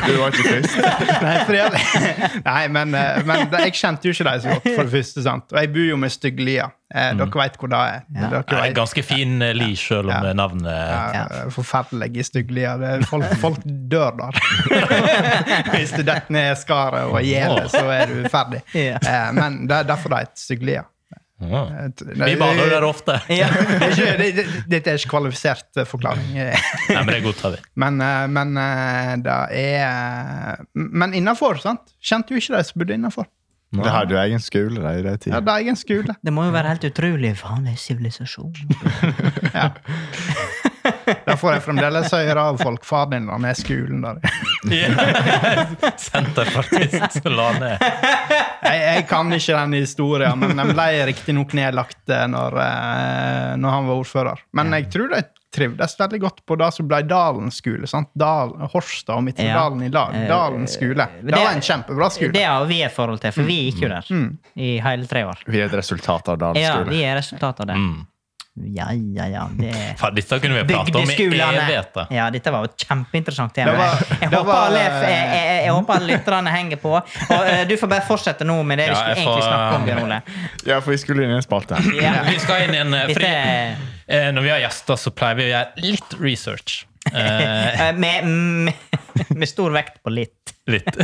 Du var ikke først.
Nei, for jeg, nei men, eh, men det, jeg kjente jo ikke dem så godt, for det første. sant? Og jeg bor jo med Styglia. Eh, dere veit hvor det er.
Ja.
Det
Dere
er
vet,
ganske fin eh, li, sjøl om
Ja.
eh, navnet
eh, Forferdelige Styglia. Det er Folk, folk dør der. Hvis du detter ned i skaret og gjelder, så er du ferdig.
Ja.
Eh, men det er derfor det heter Styglia.
Ah.
Eh, t-
Vi bader jo der ofte.
ja.
Det er ikke- det- det- Dette er ikke kvalifisert eh, forklaring. eh.
Nei, men det godtar vi.
Men, eh, men eh, det er Men innafor, sant? Kjente jo ikke de som bodde innafor.
Det hadde jo egen skole da, i det
Ja,
tiden.
det er egen skole.
Det må jo være helt utrolig. Faen, det er sivilisasjon.
Der får jeg fremdeles høre av folk far din når han er i skolen der.
Senterpartist la ned.
Jeg, jeg kan ikke den historien, men den ble riktignok nedlagt eh, når, eh, når han var ordfører. Men jeg tror de trivdes veldig godt på det som ble Dalen skole. sant? Dal, Horstad og Midtre
Ja.
Dalen i lag.
Eh,
Dalen skole.
eh,
Det var en kjempebra
Det
skole.
har vi et forhold til, for vi gikk
Mm.
jo der i hele tre år.
Vi er et resultat av Dalen
Ja,
skole.
vi er resultatet av det.
Mm.
Ja, ja, ja. Det
Faen, dette kunne vi prate om i
Bygdeskolene.
evigheter.
Ja, dette var jo et kjempeinteressant tema.
Det var-
jeg,
det
håper
var- eh,
alle, jeg, jeg, jeg håper alle lytterne henger på. Og eh, du får bare fortsette nå med det vi
Ja,
skulle
jeg
egentlig
får,
snakke om,
eh,
Bjørn Ole.
Ja, for vi skulle inn i en spalte.
Ja.
Vi skal inn i en eh,
Dette
fri...
er-
Eh, Når vi har gjester, så pleier vi å gjøre litt research. Eh,
eh, med, med, med stor vekt på litt.
Litt.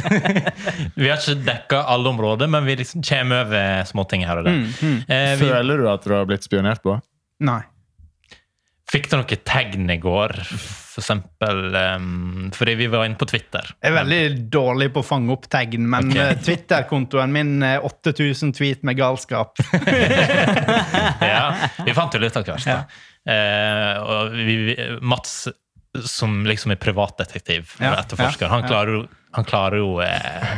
vi har ikke dekka alle områder, men vi liksom kommer over småting her og der. Eh, vi
Føler du at du har blitt spionert på?
Nei.
fikk da noen tegn i går, for eksempel ehm, fordi vi var inne på Twitter.
Jeg er veldig dårlig på å fange opp tegn, men
Ok.
eh, Twitter-kontoen min er 8000 tweet med galskap.
Ja, vi fant jo litt av hvert. da. Eh, og vi, vi, Mats, som liksom er privatdetektiv og
Ja,
etterforsker,
ja,
han klarer jo, han klarer jo eh,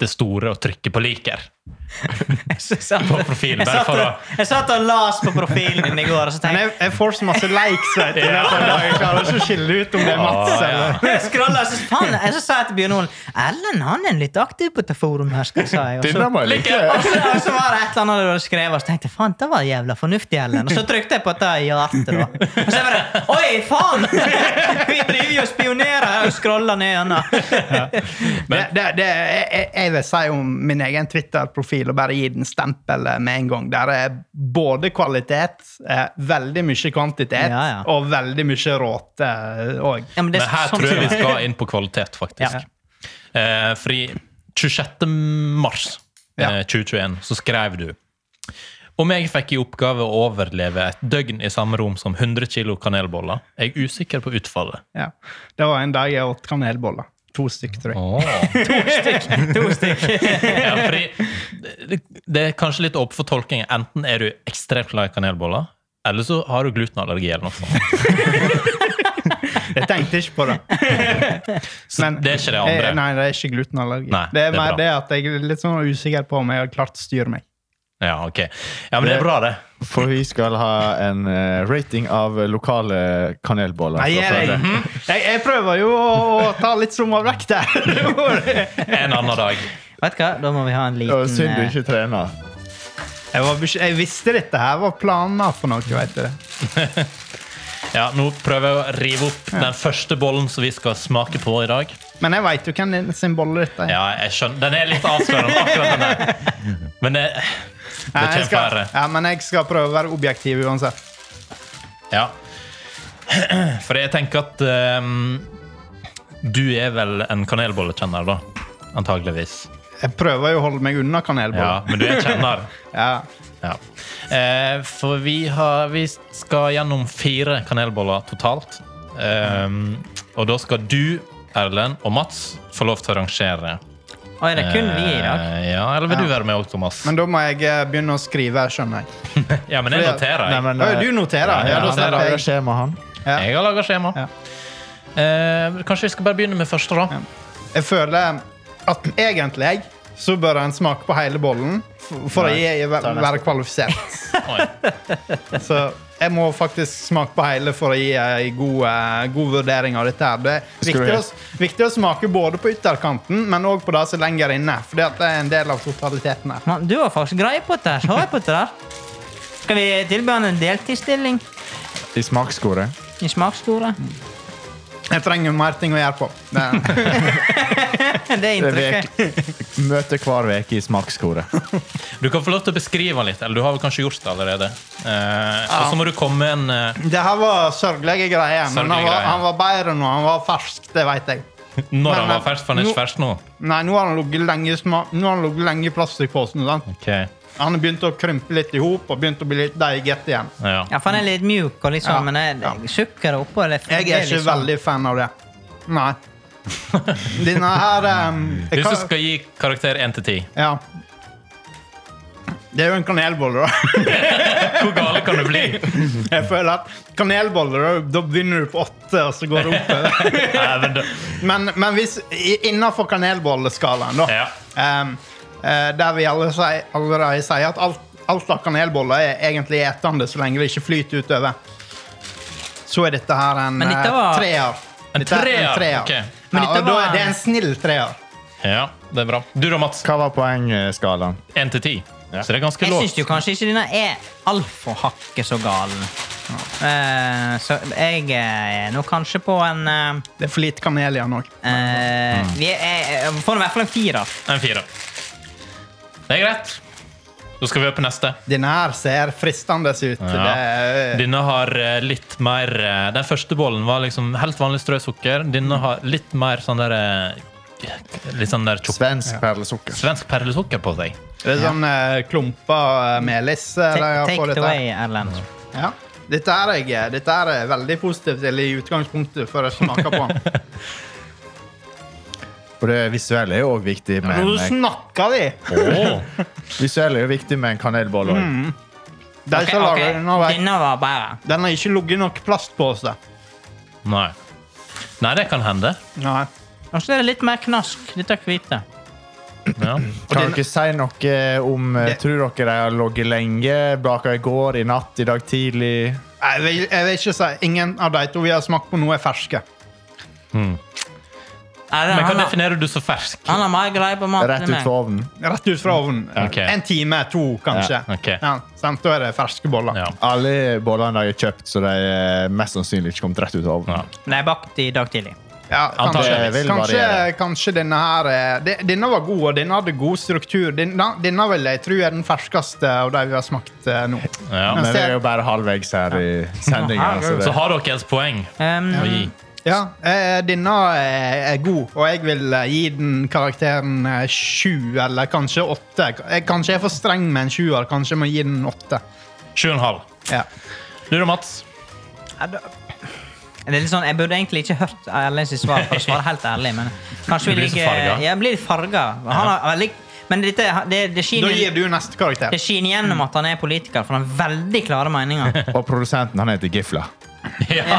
det store å trykke på liker.
Jeg satt,
På profilen,
jeg
bare
satt,
for å-
jeg satt og las på profilen din i går, og så
Men
tenkte
jeg, jeg får så masse likes, vet du.
Ja.
så Jeg klarer ikke å skille ut om det er Mats
Ah, ja.
eller
jeg scrollet, så, faen, jeg så sa jeg til Bjørn Ole Ellen han er litt aktiv på dette forumet. her, skal jeg sa jeg. Og så-
Denne må jeg
Og
like!
så, og så var Altså, det et eller annet du hadde skrevet, og så tenkte jeg faen, det var jævla fornuftig, Ellen. Og så trykte jeg på det i hjertet, da. Og så bare Oi, faen! Vi driver jo og spionerer her og scroller ned gjennom.
det, det, det, jeg, jeg vil si om min egen Twitter-profil og bare gi den stempelet med en gang. Der er både kvalitet, eh, veldig mye kvantitet
Ja, ja.
og veldig mye råte eh, òg.
Ja, men det
Men
er
her
sånn
tror jeg
som-
vi skal inn på kvalitet, faktisk. Eh, fordi 26. mars eh,
Ja.
2021 så skrev du om jeg fikk i oppgave å overleve et døgn i samme rom som 100 kilo kanelboller, er jeg usikker på utfallet.
Ja. Det var en dag jeg åt kanelboller. To stykk, tror jeg.
To stykk.
Ja, fordi det, det er kanskje litt åpen for tolking. Enten er du ekstremt glad i kanelboller, eller så har du glutenallergi. eller noe sånt.
Jeg tenkte ikke på det.
Så det er ikke det andre.
Jeg, nei, det er ikke glutenallergi.
Nei,
det er
det er
mer
bra.
det at jeg er litt sånn usikker på om jeg har klart å styre meg.
Ja, ok. Ja, men det er bra, det.
For vi skal ha en eh, rating av lokale kanelboller.
Nei,
fra
jeg,
Førde.
jeg,
Mhm.
jeg, prøver jo å, å ta litt sommervekk der. Det var det.
En annen dag.
Vet du hva, da må vi ha en
Og
liten
synd du
eh,
ikke trener.
Jeg, var, bekym- jeg visste dette her var planer for noe, vet du. det.
Ja, Nå prøver jeg å rive opp den første bollen som vi skal smake på i dag.
Men jeg veit jo hvem din- sin bolle dette er.
Ja, jeg skjønner. Den er litt avslørende, akkurat den der. Men eh, det, det
Nei, jeg
kommer
skal,
flere.
ja, men jeg skal prøve å være objektiv uansett.
Ja. For jeg tenker at eh, ehm, du er vel en kanelbollekjenner, da? Antageligvis.
Jeg prøver jo å holde meg unna
Ja,
kanelboller.
men du er kjenner.
Ja.
Ja. Eh, for vi, har, vi skal gjennom fire kanelboller totalt. Ehm, og da skal du, Erlend og Mats få lov til å rangere.
Oi, det er kun vi i dag.
Eh, ja, eller vil du
Ja.
være med òg, Thomas?
Men da må jeg eh, begynne å skrive, skjønner jeg.
ja, men jeg
Fordi-
noterer. Jeg,
Nei, men,
Oi,
eh,
du noterer?
Ja,
Ja, da
han har
slipper
laga
jeg.
skjema, han.
Ja.
jeg har laga skjema.
Ja.
Eh, kanskje vi skal bare begynne med første, da.
Jeg føler at egentlig så bør en smake på hele bollen for, for å
Nei,
gi,
ta neste.
være kvalifisert.
Oi.
Så jeg må faktisk smake på hele for å gi en god, eh, god vurdering av dette. her. Det er
Skal du
viktig å,
helt-
viktig å smake både på ytterkanten, men òg på det som er lenger inne. For det er en del av totaliteten her.
Man, du har faktisk greie på dette. her. Så har jeg på dette her. Skal vi tilby han en deltidsstilling
I smakskoret.
i smakskoret?
Jeg trenger mer ting å gjøre på. Det,
Det er inntrykket.
Møte hver uke i smakskoret.
Du kan få lov til å beskrive den litt. Eller du har vel kanskje gjort det allerede. Eh, Og så må du komme med en eh,
det her var sørgelige greier, men
Sørgelige
han var,
greier.
han var bedre nå. Han var fersk, det vet jeg.
når den
Nei,
var fersk, for den er
nå-
ikke fersk nå.
Nei, nå har han ligget lenge, i sma- nå har han ligget lenge i plastikkposen. sant?
Ok.
Han har begynt å krympe litt i hop og begynt å bli litt deigete igjen.
Ja.
Ja, for den er litt mjuk, og liksom,
Ja.
men det- det- sukkeret oppå det liksom-
Jeg er ikke
sånn.
veldig fan av det. Nei. Denne her um, jeg
Hvis du
kan,
skal gi karakter 1 til 10,
Ja. Det er jo en kanelbolle, da.
hvor gale kan du bli?
Jeg føler at kanelboller, da, da begynner du på åtte, og så går det oppover.
Nei, men da-
Men, men hvis i- innenfor kanelbolleskalaen, da
Ja.
ehm, eh, Der vi alle sier- allerede sier at alt, alt av kanelboller er egentlig etende så lenge det ikke flyter utover. Så er dette her en
Men dette
eh,
var-
treer.
En
Dette er
treer, ok.
Men
Ja,
dette
og da
var-
er det en snill treer.
Ja, det er bra. Du da, Mats.
Hva var poengskalaen?
1 til 10.
Ja.
Så det er ganske
Jeg syns
lågt.
jo kanskje ikke denne er altfor hakket så galen. Eh, så jeg eh, er nå kanskje på en eh,
Det er for lite kanel i den òg.
eh, Vi er, jeg får i hvert fall en firer.
En 4. Det er greit. Da skal vi opp på neste.
Denne her ser fristende ut.
Ja.
Det,
Denne har eh, litt mer eh, Den første bollen var liksom helt vanlig strøsukker. Denne har litt mer sånn der eh, Litt sånn der tjukk
Svensk perlesukker.
svensk perlesukker på seg.
det er sånn eh, klumper eh, melis. eh, de
Ta-
har
Take
på
it
dette.
away, Erlend.
Ja. Dette er jeg eh, dette er jeg veldig positiv til i utgangspunktet, før jeg smaker på den.
Og det visuelle er jo òg viktig. Med
eh,
Nå
en,
eh, snakker vi!
Oh.
visuelle er jo viktig med en kanelbolle. også.
Mm.
Det er
Ok,
ikke
ok,
laget, den, har vært-
Denne var bedre.
den har ikke ligget nok plast på seg.
Nei. Nei, det kan hende.
Nei.
Og så er det litt mer knask. Dette er hvite.
Ja.
Kan
den-
dere si noe om eh,
Det-
Tror dere de har ligget lenge? Baka i går, i natt, i dag tidlig?
Jeg vil, jeg vil ikke si Ingen av de to vi har smakt på nå, er ferske.
Men hva
Erlend, han, har-
definerer du så fersk?
han har mer greie på mat
Rett
enn
ut
meg.
fra ovnen?
Rett ut fra ovnen.
Ok.
En time, to, kanskje.
Ja, ok.
sant? Da er det ferske boller.
Ja.
Alle bollene de har kjøpt, så de eh, mest sannsynlig ikke kommet rett ut av
Ja.
ovnen.
Den er bakt i dag tidlig.
Ja, kanskje,
Antageligvis.
Det vil
kanskje,
variere.
kanskje denne her eh, de- Denne var god, og denne hadde god struktur. Denne, denne vil jeg tro er den ferskeste av de vi har smakt eh, nå.
Ja.
Men det er jo bare halvveis her i sendinga. Så
Så
det,
har dere et poeng
Um,
å gi.
Ja, eh, denne er, er god, og jeg vil eh, gi den karakteren eh, sju, eller kanskje åtte. Jeg, kanskje jeg er for streng med en sjuer. Kanskje jeg må gi den en åtte.
7,5.
Ja.
Du da, Mats?
det er litt sånn, jeg burde egentlig ikke hørt Erlends svar, for å svare helt ærlig. Men kanskje vi
Du blir så
ligger
farga.
ja, jeg blir litt farga. Han har, lik- men dette, det, det,
Da
skiner,
gir du neste karakter.
det skiner gjennom at han er politiker, for han har veldig klare meninger.
og produsenten han heter Gifla.
Ja.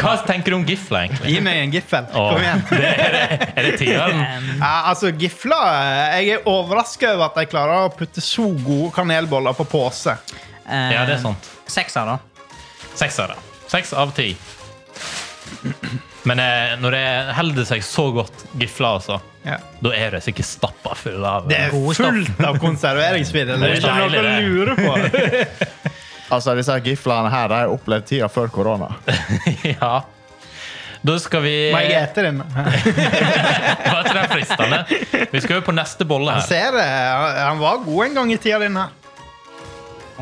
Hva tenker du om Gifla, egentlig?
Gi meg en giffel.
Åh,
Kom igjen.
det er, det, er det tieren?
Ja, altså, Gifla eh, Jeg er overraska over at de klarer å putte så gode kanelboller på pose.
Eh,
Ja, det er sant.
Sekser, da.
Seks av det. Seks av ti. Men eh, når det holder seg så godt, Gifla, altså,
Ja.
da er det sikkert stappa full av
Det er
God stoff.
fullt av konserveringsmiddel. Det er ikke
deilig,
noe å
det.
lure på.
Altså, disse Giflaene her de har opplevd tida før korona.
Ja. Da skal vi
Må jeg ete den? Han,
Var ikke det fristende? Vi skal jo på neste bolle her.
ser, eh, han var god en gang i tida, den her.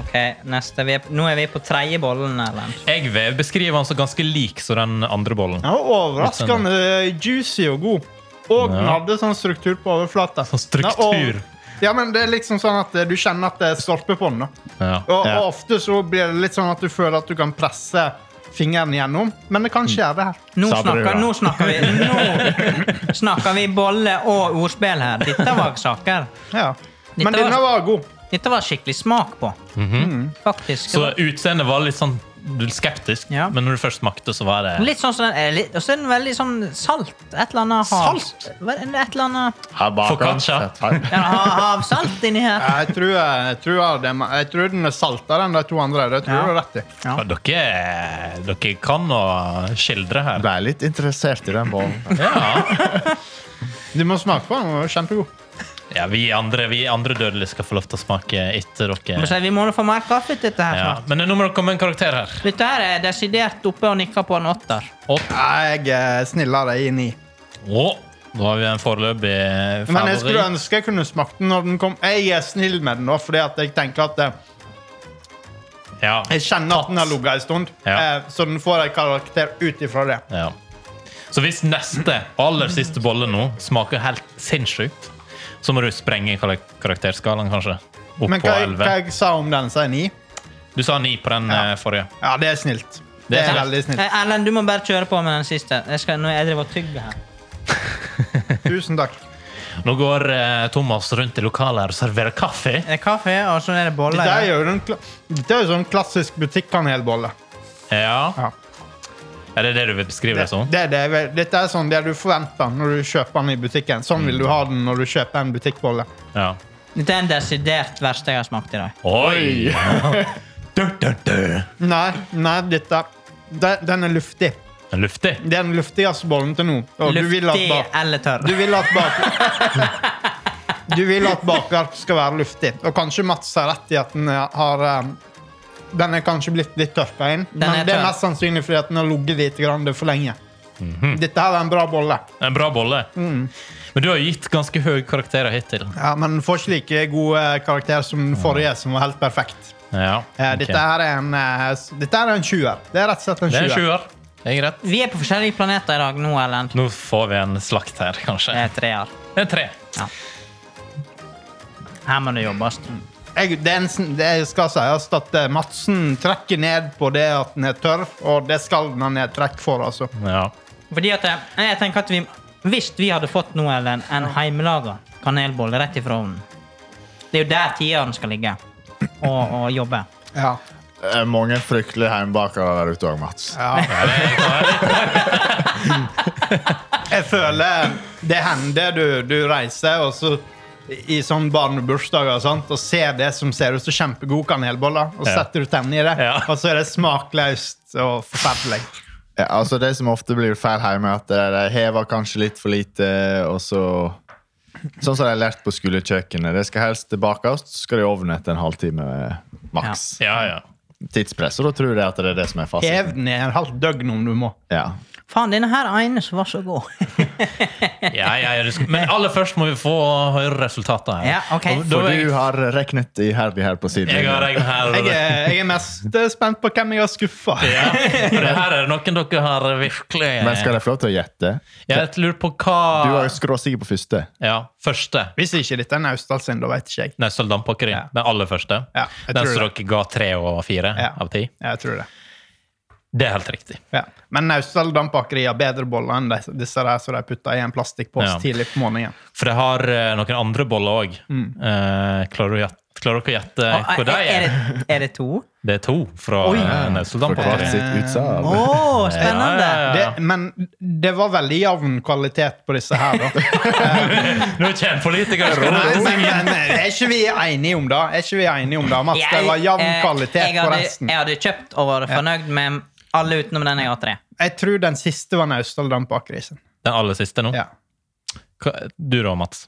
Ok, neste. Vi er, nå er vi på tredje bollen, Erlend.
Jeg vil beskrive han som ganske lik som den andre bollen.
Han var overraskende eh, juicy og god. Og den
Ja.
hadde sånn struktur på overflata.
Sånn struktur.
Nei, og- Ja, men det er liksom sånn at eh, Du kjenner at det stolper på den. da.
Ja.
Og,
Ja.
og ofte så blir det litt sånn at du føler at du kan presse fingeren gjennom, men det kan
Mm.
ikke gjøre det her.
Nå
Sa brura.
snakker, nå snakker vi Nå snakker vi bolle og ordspill her. Dette var saker.
Ja. Men
Dette
denne
var-
var god.
Dette var skikkelig smak på. Faktisk.
Mhm. Så utseendet var litt sånn du er skeptisk,
Ja.
men når du først smakte, så var det
Litt sånn som den er litt, Og så er den veldig sånn salt. Et eller annet hav...
Salt?
Hva er det- Et eller annet
Her bak
Focaccia.
han setter her.
ja, ha- Havsalt inni her.
Jeg tror, eh, jeg, tror det, jeg tror den er saltere enn de to andre. Det tror
Ja.
jeg du har rett i.
Ja.
Ja, dere, dere kan å skildre her.
Ble litt interessert i den bollen.
Ja.
Du må smake på den. den. var Kjempegod.
ja, vi andre, vi andre dødelige skal få lov til å smake etter
Men
dere.
så Vi må nå få mer kaffe til dette her
Ja.
snart.
Men nå må det komme en karakter her.
Dette her er desidert oppe og nikker på en åtter.
Opp.
Jeg er snillere i ni.
Å, da har vi en foreløpig
Men jeg skulle
favoritt.
ønske jeg kunne smakt den når den kom. Jeg er snill med den nå, fordi at jeg tenker at eh,
Ja.
jeg kjenner at den har ligget en stund.
Ja.
eh, Så den får en karakter ut ifra det.
Ja. Så hvis neste, aller siste bolle nå, smaker helt sinnssykt, så må du sprenge kar- karakterskalaen, kanskje. Opp
Men
på
hva, hva
11.
jeg sa om den, sa jeg ni?
Du sa 9 på den eh, forrige.
Ja, det er snilt. Det
Det er
er
snilt.
veldig snilt.
Eh, Erlend, du må bare kjøre på med den siste. Jeg skal, nå jeg driver og tygger her.
Tusen takk.
Nå går eh, Thomas rundt i lokalet her og serverer kaffe.
Er det kaffe, og så er det boller?
Dette er
ja?
jo, den kla- dette er jo sånn klassisk butikkanelbolle.
Ja,
Ja.
Er det det du vil beskrive det som?
Det, det, er vel- dette er sånn det du forventer når du kjøper den i butikken. Sånn vil du ha den når du kjøper en butikkbolle.
Ja.
Dette er den desidert verste jeg har smakt i dag.
Oi! Dun, dun, dun.
Nei, nei, dette de- Den er luftig.
Den er Luftig.
Det er den luftigste bollen til nå. Og du vil at
Luftig
bak-
eller
Du
tørr?
vil at bak... Du vil at bakverk skal være luftig. Og kanskje Mats har rett i at den har um, Den er kanskje blitt litt tørka inn,
Den er
men det er
tørr.
mest sannsynlig fordi at den har ligget lite grann for lenge.
Mhm.
Dette her er en bra bolle,
En bra bolle.
Mm.
Men du har gitt ganske høye karakterer hittil.
ja, men den får ikke like god eh, karakter som den forrige, som var helt perfekt.
Ja,
Eh,
ok.
Dette her er en eh, s- Dette her er en 20. Det er rett og slett en
Det er en
20.
sjuer. Det er greit.
Vi er på forskjellige planeter i dag nå, Erlend.
Nå får vi en slakt her, kanskje.
Det er treer.
Det er tre.
Her må det jobbes.
Jeg, det, er en, sn- det skal sies at eh, Madsen trekker ned på det at den er tørr, og det skal den ha nedtrekk for. altså.
Ja.
Fordi at eh, jeg tenker at vi Hvis vi hadde fått nå, Erlend, en heimelaga kanelbolle rett ifra ovnen Det er jo der tieren skal ligge og, og jobbe.
Ja.
Det er Mange fryktelige heimbakere der ute òg, Mats.
Ja. Jeg føler det hender du, du reiser og så i sånn barnebursdager og sånt, og ser det som ser ut som kjempegode kanelboller, og
Ja.
setter du tennene i det,
Ja.
og så er det smakløst og forferdelig.
Ja, altså Det som ofte blir feil hjemme, er at eh, de hever kanskje litt for lite, og så Sånn som de har lært på skolekjøkkenet. Det skal helst tilbakest, så skal de i ovnen etter en halvtime eh, maks.
Ja, ja.
Tidspress, og da tror jeg at det er det som er
Hev
fasiten.
den i en halvt døgn om du må.
Ja.
Faen, denne her ene som var så god.
ja, ja, ja. du skal- Men aller først må vi få høre resultatet her.
Ja, ok.
Og da
For
er jeg,
du har regnet iherdig her på siden.
jeg har regnet her.
Jeg er, jeg er mest eh, spent på hvem jeg har skuffa.
Ja, for det her er noen dere har virkelig
Men skal de få lov til å gjette?
Jeg lurer på
Du var
hva
jo skråsikker på første.
Ja, første.
Hvis ikke dette er Naustdal sin, da vet ikke jeg.
Nei, Sølvdampakeri.
Ja.
Den aller første.
Ja, jeg
Den
tror
som dere ga tre og fire
Ja.
av ti.
Jeg tror det.
Det er helt riktig.
Ja. Men Naustdal Dampakeri har bedre boller enn de- disse der som de putta i en plastikkpose
Ja.
tidlig på morgenen. Mm.
For jeg har eh, noen andre boller òg. Eh, klarer, du å gjette- klarer dere å gjette hvor de
Ah, eh, er,
er?
det, er det to?
Det er to fra eh,
For hvert
Naustdaldampakeri.
sitt utsalg.
Å, spennende!
Ja, ja, ja.
Det, men det var veldig jevn kvalitet på disse her, da.
Nå kommer politikeren!
Nei, men, men, er ikke vi enige om det? Er ikke vi enige om det, Mats? Det var jevn
eh, jeg
kvalitet på
hadde-
resten.
Jeg hadde kjøpt og vært fornøyd med alle utenom den jeg har tre.
Jeg tror den siste var Naustdal Dampakeri sin.
Den aller siste nå?
Ja.
Hva- Du da, Mats?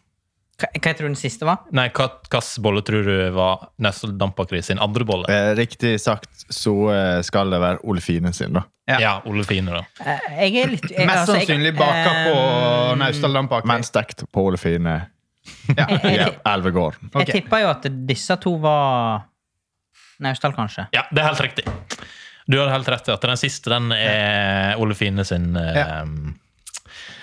Hva, hva jeg tror den siste var?
Nei, hvilken bolle tror du var Nesseldampakri sin andre bolle?
Eh, Riktig sagt så eh, skal det være Olfine sin, da.
Ja.
Ja, Ole Fine, da.
Eh, Jeg er litt jeg,
Mest
altså, jeg-
sannsynlig baka på
eh,
Naustdal
Men
Dampakeri.
stekt på Olfine.
Ja.
eh,
Ja, Elvegård.
Jeg
Ok.
tippa jo at disse to var Naustdal, kanskje.
Ja, det er helt riktig. Du har helt rett i at den siste den er Ole Fine sin eh,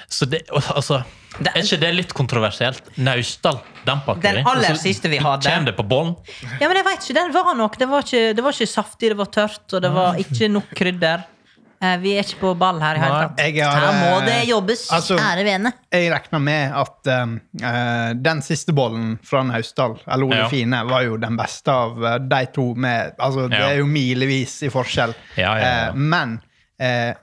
Så det, altså,
Det-
er ikke det litt kontroversielt? Naustdal dampakeri?
Den aller
Og så
siste vi hadde.
Kjem det på bånn?
Ja, men jeg vet ikke, den var nok. Det var ikke, det var ikke saftig, det var tørt, og det var ikke nok krydder. Eh, Vi er ikke på ball her i hele
Nei.
tatt.
Jeg har,
Her må
eh,
det jobbes,
altså-
ære vene.
Jeg regner med at eh, eh, den siste bollen fra Naustdal, eller Ole
Ja.
Fine, var jo den beste av eh, de to. Med, altså, Det
Ja.
er jo milevis i forskjell.
Ja, ja, ja.
Eh, men eh,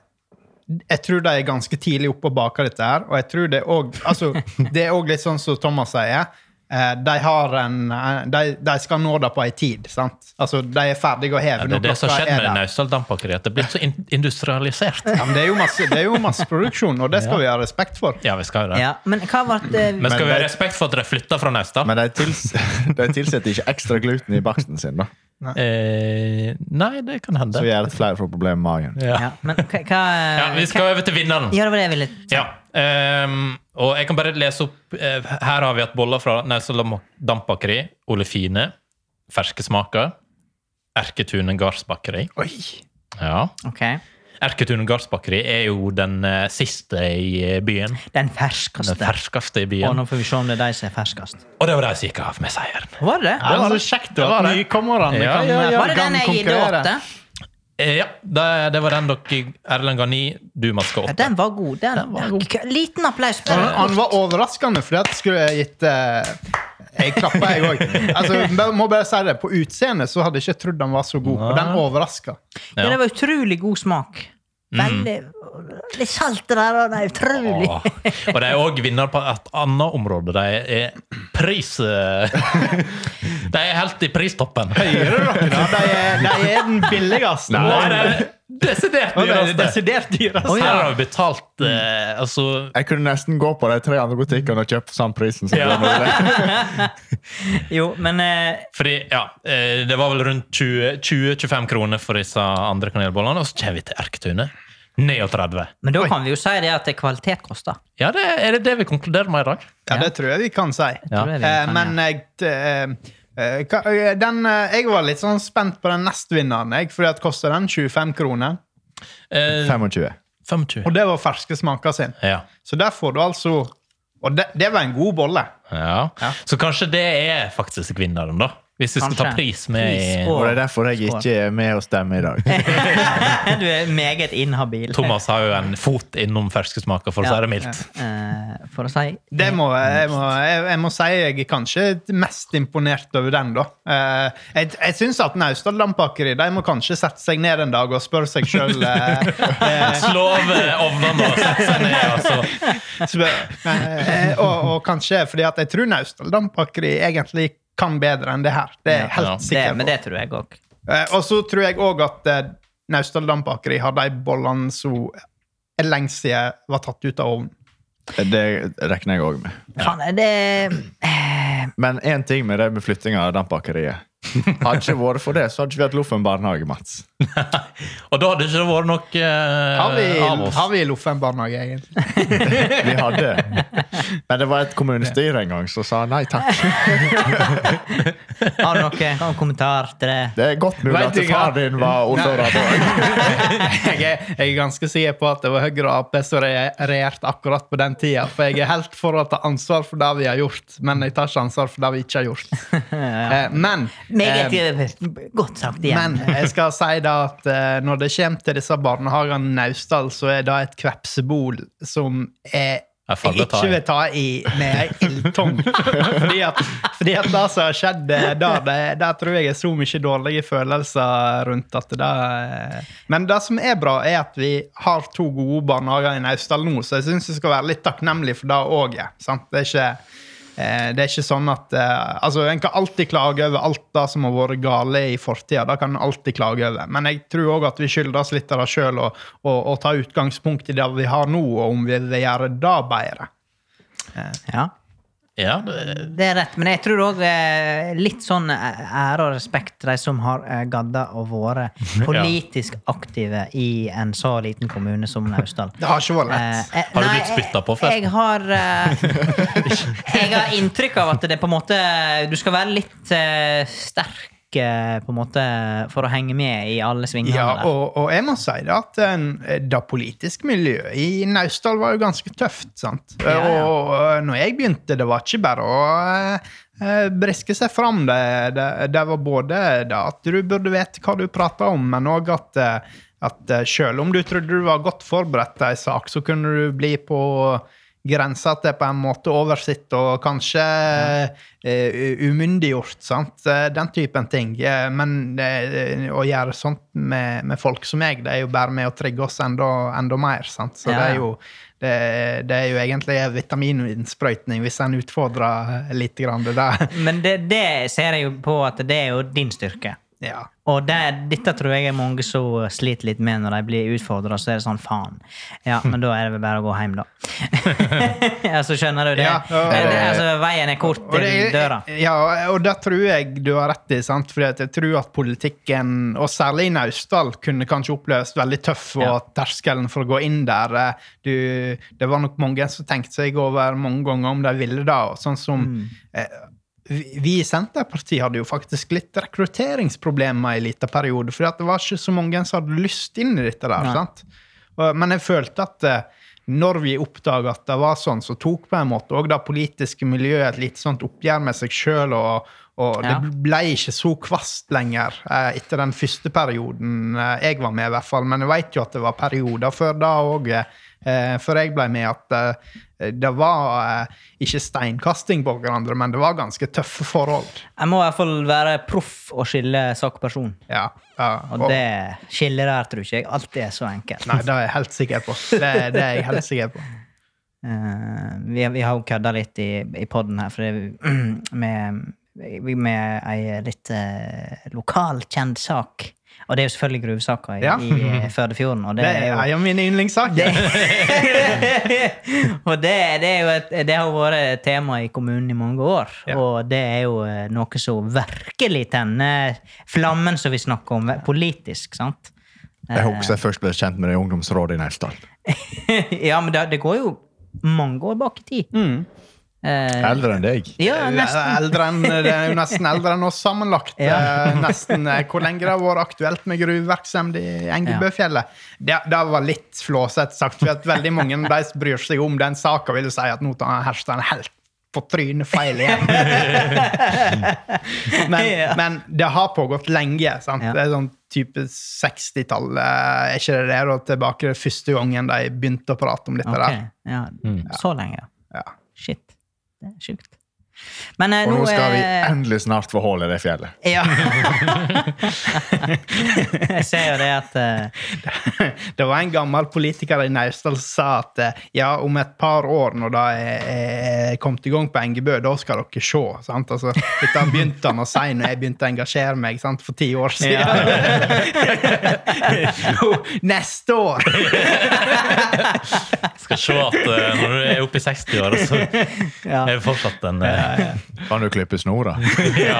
jeg tror de er ganske tidlig oppe og baker dette her. Og jeg tror det òg altså, Det er òg litt sånn som Thomas sier. eh, de, har en, eh, de, de skal nå det på ei tid. sant? Altså, De er ferdige å heve
Det er det som
klokka
skjedde
er der.
med Naustdal dampakeri, at det er blitt så in- industrialisert.
Ja, men det er jo masse- det er jo masseproduksjon, og det skal vi ha respekt for.
Ja, vi skal jo det.
Ja, men hva var det eh,
Men skal
Men
vi ha
det-
respekt for at dere flytta fra Naustdal?
Men de, tils de tilsetter ikke ekstra gluten i baksten sin, da.
Eh, nei, det kan hende.
Så gjør at flere får problemer med magen.
Ja.
Ja, men hva, hva
ja, Vi skal over til vinneren.
Ja, det var det jeg ville
Ja. ehm, og jeg kan bare lese opp eh, Her har vi hatt boller fra Naustdal Dam- Dampbakeri, Ole Fine, Ferske Smaker, Erketunen Gardsbakeri.
Oi!
Ja.
Ok.
Erketunen Gardsbakeri er jo den eh, siste i eh, byen.
Den
Den
ferskeste.
ferskeste i
Og
byen.
nå får vi se om det er de som er ferskest.
Og det var de som gikk av med seieren.
Var det det?
altså, Det var så kjekt da, at nykommerne
Ja,
kan
ja, ja.
eh,
Var det den
gang
jeg gidde
konkurrere.
åtte?
Eh, ja, det, det var den dere Erlend ga ni, du Mats ga
Ja,
åtte.
den var god. Den,
var god.
K- Liten applaus. på
Han, han
den.
var overraskende, for det skulle jeg gitt eh, Jeg klappa, jeg òg. Altså, jeg må bare si det, på utseendet så hadde jeg ikke trodd han var så god. Og den overraska.
Ja, Mm. det var utrolig god smak. Veldig Litt salt det der, og det er utrolig.
Åh. Ah. Og de er òg vinner på et annet område. De er pris... eh, De er helt i pristoppen.
Hører dere da? De er, de er den billigste.
Nei,
Og-
de er desidert
og de er
dyreste.
desidert dyreste.
Her har vi betalt eh, altså
Jeg kunne nesten gå på de tre andre butikkene og kjøpt samme prisen. som
Ja.
det var mulig.
Jo, men eh,
Fordi, ja, eh, det var vel rundt 20 20-25 kroner for disse andre kanelbollene. Og så kommer vi til Erketunet. 39.
Men da
Oi.
kan vi jo si det at det er kvalitet koster.
Ja, det er det det vi konkluderer med i dag.
Ja, det tror jeg vi kan si.
Ja.
Tror jeg vi
Eh,
kan, ja.
men jeg eh, eh, hva- eh, den, eh, jeg var litt sånn spent på den nestvinneren, jeg, fordi at koster den 25 kroner.
Eh,
25.
25.
Og det var ferske smaker sin.
Ja.
Så der får du altså Og det, det var en god bolle.
Ja. Så kanskje det er faktisk vinneren, da. Hvis vi skal
Kanskje.
ta pris med
Pris
i
og-
Og det er derfor jeg ikke er med å stemme i dag.
Du er meget inhabil.
Thomas har jo en fot innom ferske smaker, for å
Ja.
si det mildt.
Eh, for å si
Det må,
Mm,
jeg, må, jeg, jeg må si jeg er kanskje mest imponert over den, da. Eh, jeg jeg syns at Naustdal Dampakeri de må kanskje sette seg ned en dag og spørre seg sjøl
Slå av eh, ovnene og sette seg ned. Altså.
eh, og, og kanskje fordi at jeg tror Naustdal Dampakeri egentlig kan bedre enn det her. Det er jeg
Ja,
helt
det,
sikker
men
på.
det tror jeg òg.
Eh, og så tror jeg òg at eh, Naustdal Dampakeri har de bollene som er lengst siden var tatt ut av ovnen.
Det regner jeg òg med.
Faen, det eh,
Men én ting med det med flyttinga av dampbakeriet. Hadde ikke vært for det, så hadde ikke vi hatt Loffen barnehage, Mats.
Og da hadde det ikke vært nok eh,
Har vi,
av oss.
har vi Loffen barnehage, egentlig?
Vi hadde. Men det var et kommunestyre en gang som sa nei takk.
Har du noen noen kommentar til det?
Det er godt mulig
Vet
at
ikke.
far din var ordfører da.
jeg, er, jeg er ganske sikker på at det var Høyre og Ap som re- regjerte akkurat på den tida. For jeg er helt for å ta ansvar for det vi har gjort, men jeg tar ikke ansvar for det vi ikke har gjort. Eh, Men
Meget
eh,
eh, godt sagt igjen.
men jeg skal si da at eh, når det kommer til disse barnehagene i Naustdal, så er det et kvepsebol som er
Jeg
jeg
faller ta
ikke
i.
vil ta i med ei ildtong. Fordi at, fordi at det som har skjedd eh, der, det, der tror jeg er så mye dårlige følelser rundt at det eh. Men det som er bra, er at vi har to gode barnehager i Naustdal nå, så jeg syns vi skal være litt takknemlige for det òg. Det, er ikke- eh, det er ikke sånn at eh, altså En kan alltid klage over alt det som har vært gale i fortida. Det kan en alltid klage over. Men jeg tror òg at vi skylder oss litt av det sjøl og, og, og ta utgangspunkt i det vi har nå, og om vi vil gjøre det bedre.
Ja.
Ja, det,
Det er rett, men jeg tror òg eh, litt sånn eh, ære og respekt til de som har eh, gadda å være politisk aktive i en så liten kommune som Naustdal.
Det har ikke vært lett.
Eh, eh,
Har du
nei,
blitt spyttet på,
Jeg,
forresten?
jeg har eh, Jeg har inntrykk av at det på en måte Du skal være litt eh, sterk rekker på en måte for å henge med i alle svingene.
Ja,
der.
og, og jeg må si det at eh, det politiske miljøet i Naustdal var jo ganske tøft. sant?
Ja, ja.
Og eh, når jeg begynte, det var ikke bare å eh, briske seg fram. Det, det, det var både det at du burde vite hva du prater om, men òg at, eh, at eh, selv om du trodde du var godt forberedt til en sak, så kunne du bli på grensa til på en måte oversitt og kanskje eh, umyndiggjort. sant? Eh, Den typen ting. Eh, Men eh, å gjøre sånt med, med folk som meg, det er jo bare med å trigge oss enda, enda mer. sant? Så
Ja,
det
ja.
er jo det, det er jo egentlig en vitamininnsprøytning hvis en utfordrer litt grann det der.
Men det, det ser jeg jo på at det er jo din styrke.
Ja.
Og det, dette tror jeg er mange som sliter litt med når de blir utfordra. Så er det sånn faen. Ja, men da er det vel bare å gå hjem, da. altså, skjønner du det?
Ja, og-
det, det altså, veien er kort til
det er-
døra.
Ja, og det tror jeg du har rett i. sant? Fordi at jeg tror at politikken, og særlig i Naustdal, kunne kanskje oppløst veldig tøff, og
Ja.
at terskelen for å gå inn der eh, du, Det var nok mange som tenkte seg over mange ganger om de ville det. og Sånn som
Mm.
eh, vi vi i Senterpartiet hadde jo faktisk litt rekrutteringsproblemer i en liten periode, for det var ikke så mange som hadde lyst inn i dette der.
Nei.
sant? Og- Men jeg følte at eh, når vi oppdaga at det var sånn, så tok på en måte òg det politiske miljøet et litt sånt oppgjør med seg sjøl, og, og
Ja.
det ble ikke så kvast lenger eh, etter den første perioden eh, jeg var med, i hvert fall. Men jeg veit jo at det var perioder før da òg, eh, før jeg ble med, at eh, det var eh, ikke steinkasting på hverandre, men det var ganske tøffe forhold.
Jeg må i hvert fall være proff og skille sak og person.
Ja, ja.
Og det skillet der tror ikke jeg alltid er så enkelt.
Nei, det er jeg helt sikker på. Det, det er jeg helt sikker på.
Eh, vi, vi har jo kødda litt i, i podden her, for det, med, vi- med ei litt eh, lokal kjent sak. Og det er jo selvfølgelig gruvesaka i,
Ja.
i Førdefjorden. Og det,
Det
er jo,
er jo min yndlingssak.
og det, det, er jo et, det har jo vært et tema i kommunen i mange år.
Ja.
Og det er jo eh, noe som virkelig tenner flammen som vi snakker om, eh, politisk. sant? Eh,
Jeg husker jeg først ble kjent med det i ungdomsrådet i Naustdal.
ja, men det, det går jo mange år bak i tid. Eh,
Eldre enn deg.
ja, nesten.
Eldre enn, det er jo nesten eldre enn oss sammenlagt.
Ja.
Eh, Nesten, eh, hvor lenge det har vært aktuelt med gruvevirksomhet i Engebøfjellet. Det, det var litt flåsete sagt, for at veldig mange av de som bryr seg om den saka, vil jo si at nå tar Herstad en helt på trynet feil igjen. men,
Ja.
men det har pågått lenge. sant?
Ja.
Det er sånn type 60-tall. eh, Er ikke det det da, tilbake til første gangen de begynte å prate om dette
Ok,
der?
ja. Så lenge, ja.
Ja.
Shit. Det er sjukt. Men eh,
Og
nå
nå skal vi
eh,
endelig snart få hull i det fjellet.
Ja. jeg ser jo det at eh,
Det var en gammel politiker i Naustdal som sa at eh, ja, om et par år, når det er, er kommet i gang på Engebø, da skal dere se. Sant? Altså, dette begynte han å si når jeg begynte å engasjere meg sant? for ti år siden. Jo, Neste år!
Skal se at eh, når du er oppe i 60-åra, så
ja,
er det fortsatt en eh,
Kan du klippe snora?
ja.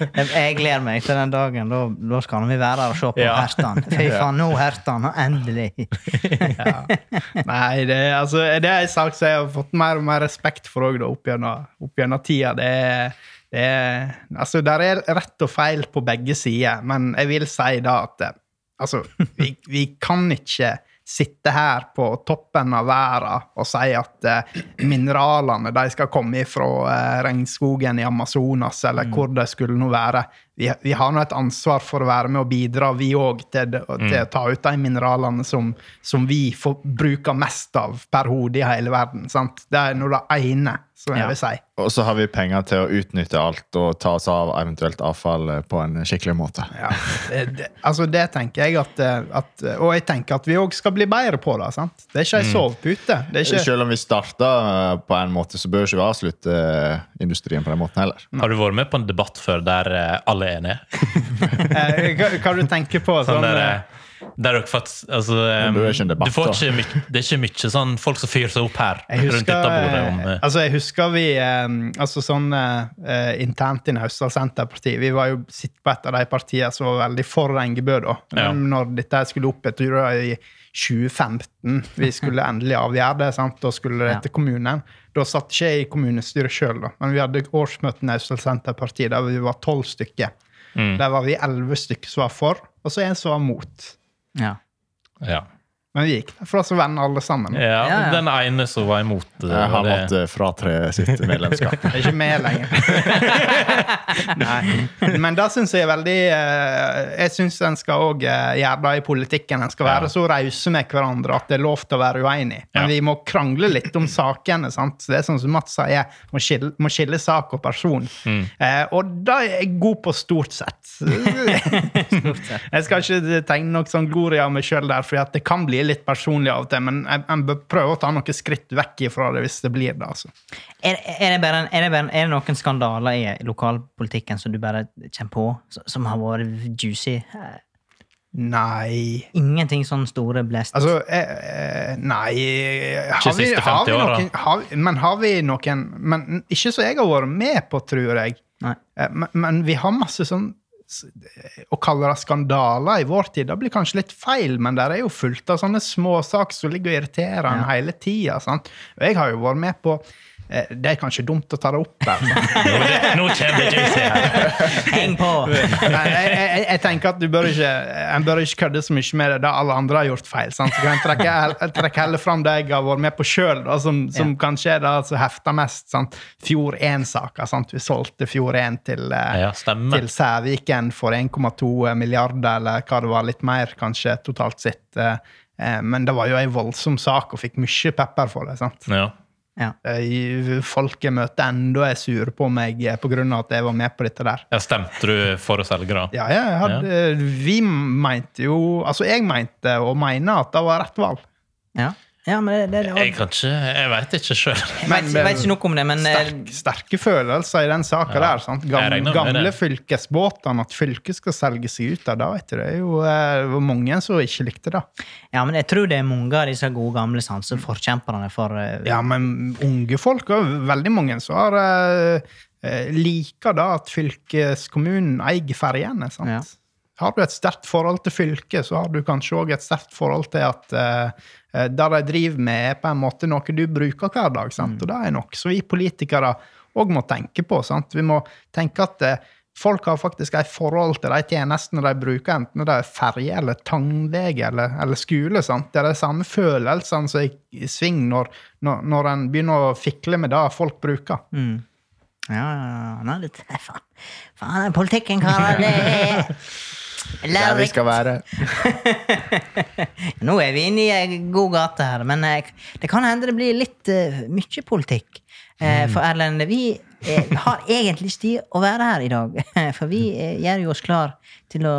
jeg, jeg gleder meg til den dagen. Da, da skal vi være her og se på
Ja.
Hertan. Fy faen, nå Hertan, og endelig!
Nei, det, er- altså, det er en sak som jeg har fått mer og mer respekt for også, da, opp gjennom- opp gjennom tida. Det, er- det, er- altså, der er rett og feil på begge sider, men jeg vil si da at eh, altså, vi, vi kan ikke sitte her på toppen av verden og si at eh, mineralene de skal komme ifra eh, regnskogen i Amazonas, eller hvor de skulle nå være. Vi, vi har nå et ansvar for å være med og bidra, vi òg, til, det- til å ta ut de mineralene som, som vi får, bruker mest av per hode i hele verden. Sant? Det er nå det ene, som
Ja.
jeg vil si.
Og så har vi penger til å utnytte alt og ta oss av eventuelt avfall eh, på en skikkelig måte.
Ja, det, det, altså det tenker jeg at, eh, at Og jeg tenker at vi òg skal bli bedre på det. sant? Det er ikke ei sovepute. Mm. Det er ikke,
Selv om vi starta på en måte, så bør ikke vi avslutte eh, industrien på den måten heller.
Har du vært med på en debatt før der eh, alle er enige?
eh, hva, hva du tenker på?
Sånn
Sånn,
der,
eh,
eh, der dere faktisk altså, eh,
Men det er ikke en debatt,
du får
da.
ikke mye, Det er ikke mye sånn folk som fyrer seg opp her
Jeg
rundt
husker,
dette bordet. Om,
eh,
eh,
altså jeg husker vi eh, altså sånn eh, eh, internt i Naustdal Senterparti Vi var jo sitt på et av de partiene som var veldig for Engebø da.
Ja.
Når dette skulle opp jeg tror det var i 2015, vi skulle endelig avgjøre det, sant? da skulle det
Ja.
til kommunen. Da satt ikke jeg i kommunestyret sjøl, men vi hadde årsmøte i Naustdal Senterparti der vi var tolv stykker.
Mm.
Der var vi elleve stykker som var for, og så en som var mot.
Ja. eh,
Ja.
Men vi gikk derfra som venner alle sammen.
Ja,
Ja, ja.
Den ene som var imot det.
Mm. Jeg
var
har
det.
måttet eh, fratre sitt medlemskap.
Det er ikke med lenger. Nei. Men det syns jeg er veldig eh, Jeg syns en skal òg gjøre det i politikken. En skal være så rause med hverandre at det er lov til å være uenig. Men
Ja.
vi må krangle litt om sakene. sant? Så Det er sånn som Mats sier, må skille, må skille sak og person. Eh, og det er jeg god på stort sett. jeg skal ikke tegne noe sånn gloria av meg sjøl der, for det kan bli litt personlig av og til. Men en- en bør prøve å ta noen skritt vekk ifra det hvis det blir det. altså.
Er, er, det bare, en- er, det bare, en- er det noen skandaler i lokalpolitikken som du bare kommer på, s- som har vært juicy? Eh,
Nei
Ingenting sånn store blest.
Altså, eh, eh, nei har vi,
siste
har vi
50 åra.
noen, har, vi- Men har vi noen men Ikke så jeg har vært med på, tror jeg.
Nei.
Eh, Men, men vi har masse sånn s- eh, Å kalle det skandaler i vår tid, det blir kanskje litt feil, men der er jo fullt av sånne småsaker som ligger og irriterer en hele tida. sant? Og jeg har jo vært med på eh, Det er kanskje dumt å ta det opp der. men-
Nå, nå kommer det juicy her.
Heng på!
Nei, jeg, jeg, jeg tenker at du bør ikke, En bør ikke kødde så mye med det da alle andre har gjort feil. Sant? Så kan jeg trekke, hel- trekke heller fram det jeg har vært med på sjøl, som, som kanskje er det som hefter mest. Sant? Fjord 1-saka. sant? Vi solgte Fjord 1 til, eh,
Ja, stemmer.
til Sæviken for 1,2 eh, milliarder, eller hva det var, litt mer kanskje totalt sett. eh, eh, Men det var jo ei voldsom sak, og fikk mye pepper for det. sant?
Ja.
Ja.
Eh, Folkemøtet ennå er sure på meg pga. at jeg var med på dette der.
ja, stemte du for å selge, da?
Ja, ja, jeg hadde, vi mente jo Altså, jeg mente og mener at det var rett valg.
Ja, ja men det, det, det
Jeg kan ikke Jeg veit ikke sjøl.
Jeg vet, ikke- vet ikke noe om det, men eh,
Sterk, sterke følelser i den saka der. sant?
Jeg
Gamle,
regner med
gamle
det.
fylkesbåtene, at fylket skal selge seg ut av det, vet du. Det er jo eh, det var mange som ikke likte det.
Ja, men jeg tror det er mange av disse gode gamle sanseforkjemperne for eh,
Ja, men unge folk og veldig mange som har eh, eh, liker da at fylkeskommunen eier ferjene. sant?
Ja.
Har du et sterkt forhold til fylket, så har du kanskje òg et sterkt forhold til at eh, eh, det de driver med, er på en måte noe du bruker hver dag. sant? Og det er nok så vi politikere òg må tenke på. sant? Vi må tenke at eh, folk har faktisk et forhold til de tjenestene de bruker, enten det er ferje eller tannlege eller, eller skole. sant? Det er de samme følelsene som er i sving når, når, når en begynner å fikle med det folk bruker.
Mm. Ja, ja, ja. Nei, det er faen. Faen, den politikken, karer, det er
Der vi
lærerikt.
skal være.
Nå er vi inne i ei god gate her, men eh, det kan hende det blir litt eh, mye politikk.
Mm.
Eh, for Erlend, vi eh, har egentlig ikke tid å være her i dag. For vi eh, gjør jo oss klar til å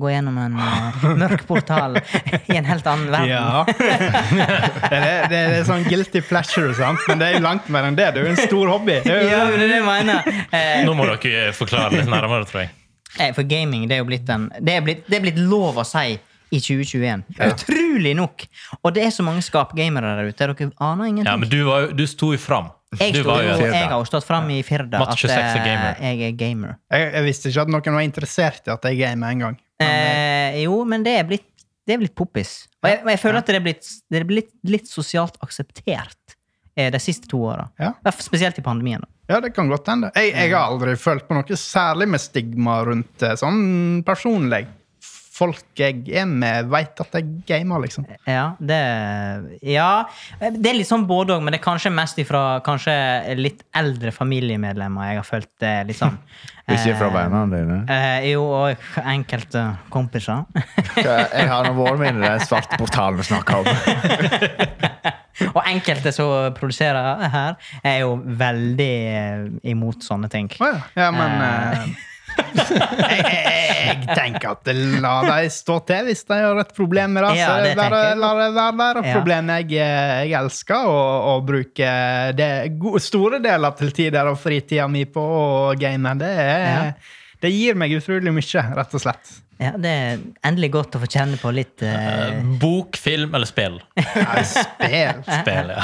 gå gjennom en eh, mørk portal i en helt annen verden.
det, er, det er sånn guilty pleasure, sant? men det er jo langt mer enn det. Det er jo en stor hobby. Det er jo,
Ja, men det er det jeg mener. Eh,
Nå må dere forklare litt nærmere, tror jeg.
Eh, For gaming det er jo blitt, en, det er blitt, det er blitt lov å si i 2021. Utrolig nok! Og det er så mange skapgamere der ute. Dere aner ingenting.
Ja, men du, var, jo- du sto jo fram.
jeg,
Du
sto
var
jo,
jo
Firda.
jeg har jo stått fram i Firda
Matt
at
26 er
eh,
gamer.
jeg er gamer.
jeg, jeg visste ikke at noen var interessert i at jeg gamer en gang.
Eh, jo, men det er blitt, det er blitt poppis. Og jeg, og jeg føler at det er blitt, det er blitt litt sosialt akseptert eh, de siste to åra.
Ja.
Spesielt i pandemien. da.
Ja, det kan godt hende. Jeg, jeg har aldri følt på noe særlig med stigma rundt det, sånn personlig. Folk jeg er med, veit at jeg gamer, liksom.
Ja, det, ja, det er litt sånn både òg, men det er kanskje mest ifra kanskje litt eldre familiemedlemmer jeg har følt det litt sånn.
Ikke fra
Eh,
vennene dine.
Eh, jo, og enkelte kompiser.
Jeg har nå vært med i den svarte portalen du snakker om.
og enkelte som produserer her, er jo veldig eh, imot sånne ting.
Å ja. ja, men
Eh.
eh, jeg, jeg, jeg tenker at la dem stå til hvis de har et problem med det.
Ja,
så
det
la
tenker jeg.
la det være der.
Ja.
Problemet jeg, jeg elsker å, å bruke det go- store deler til tider og fritida mi på å game, det, er,
Ja.
det gir meg utrolig mye, rett og slett.
Ja, det er endelig godt å få kjenne på litt eh,
Eh, Bok, film eller spill?
Ja, spill.
Spill, ja.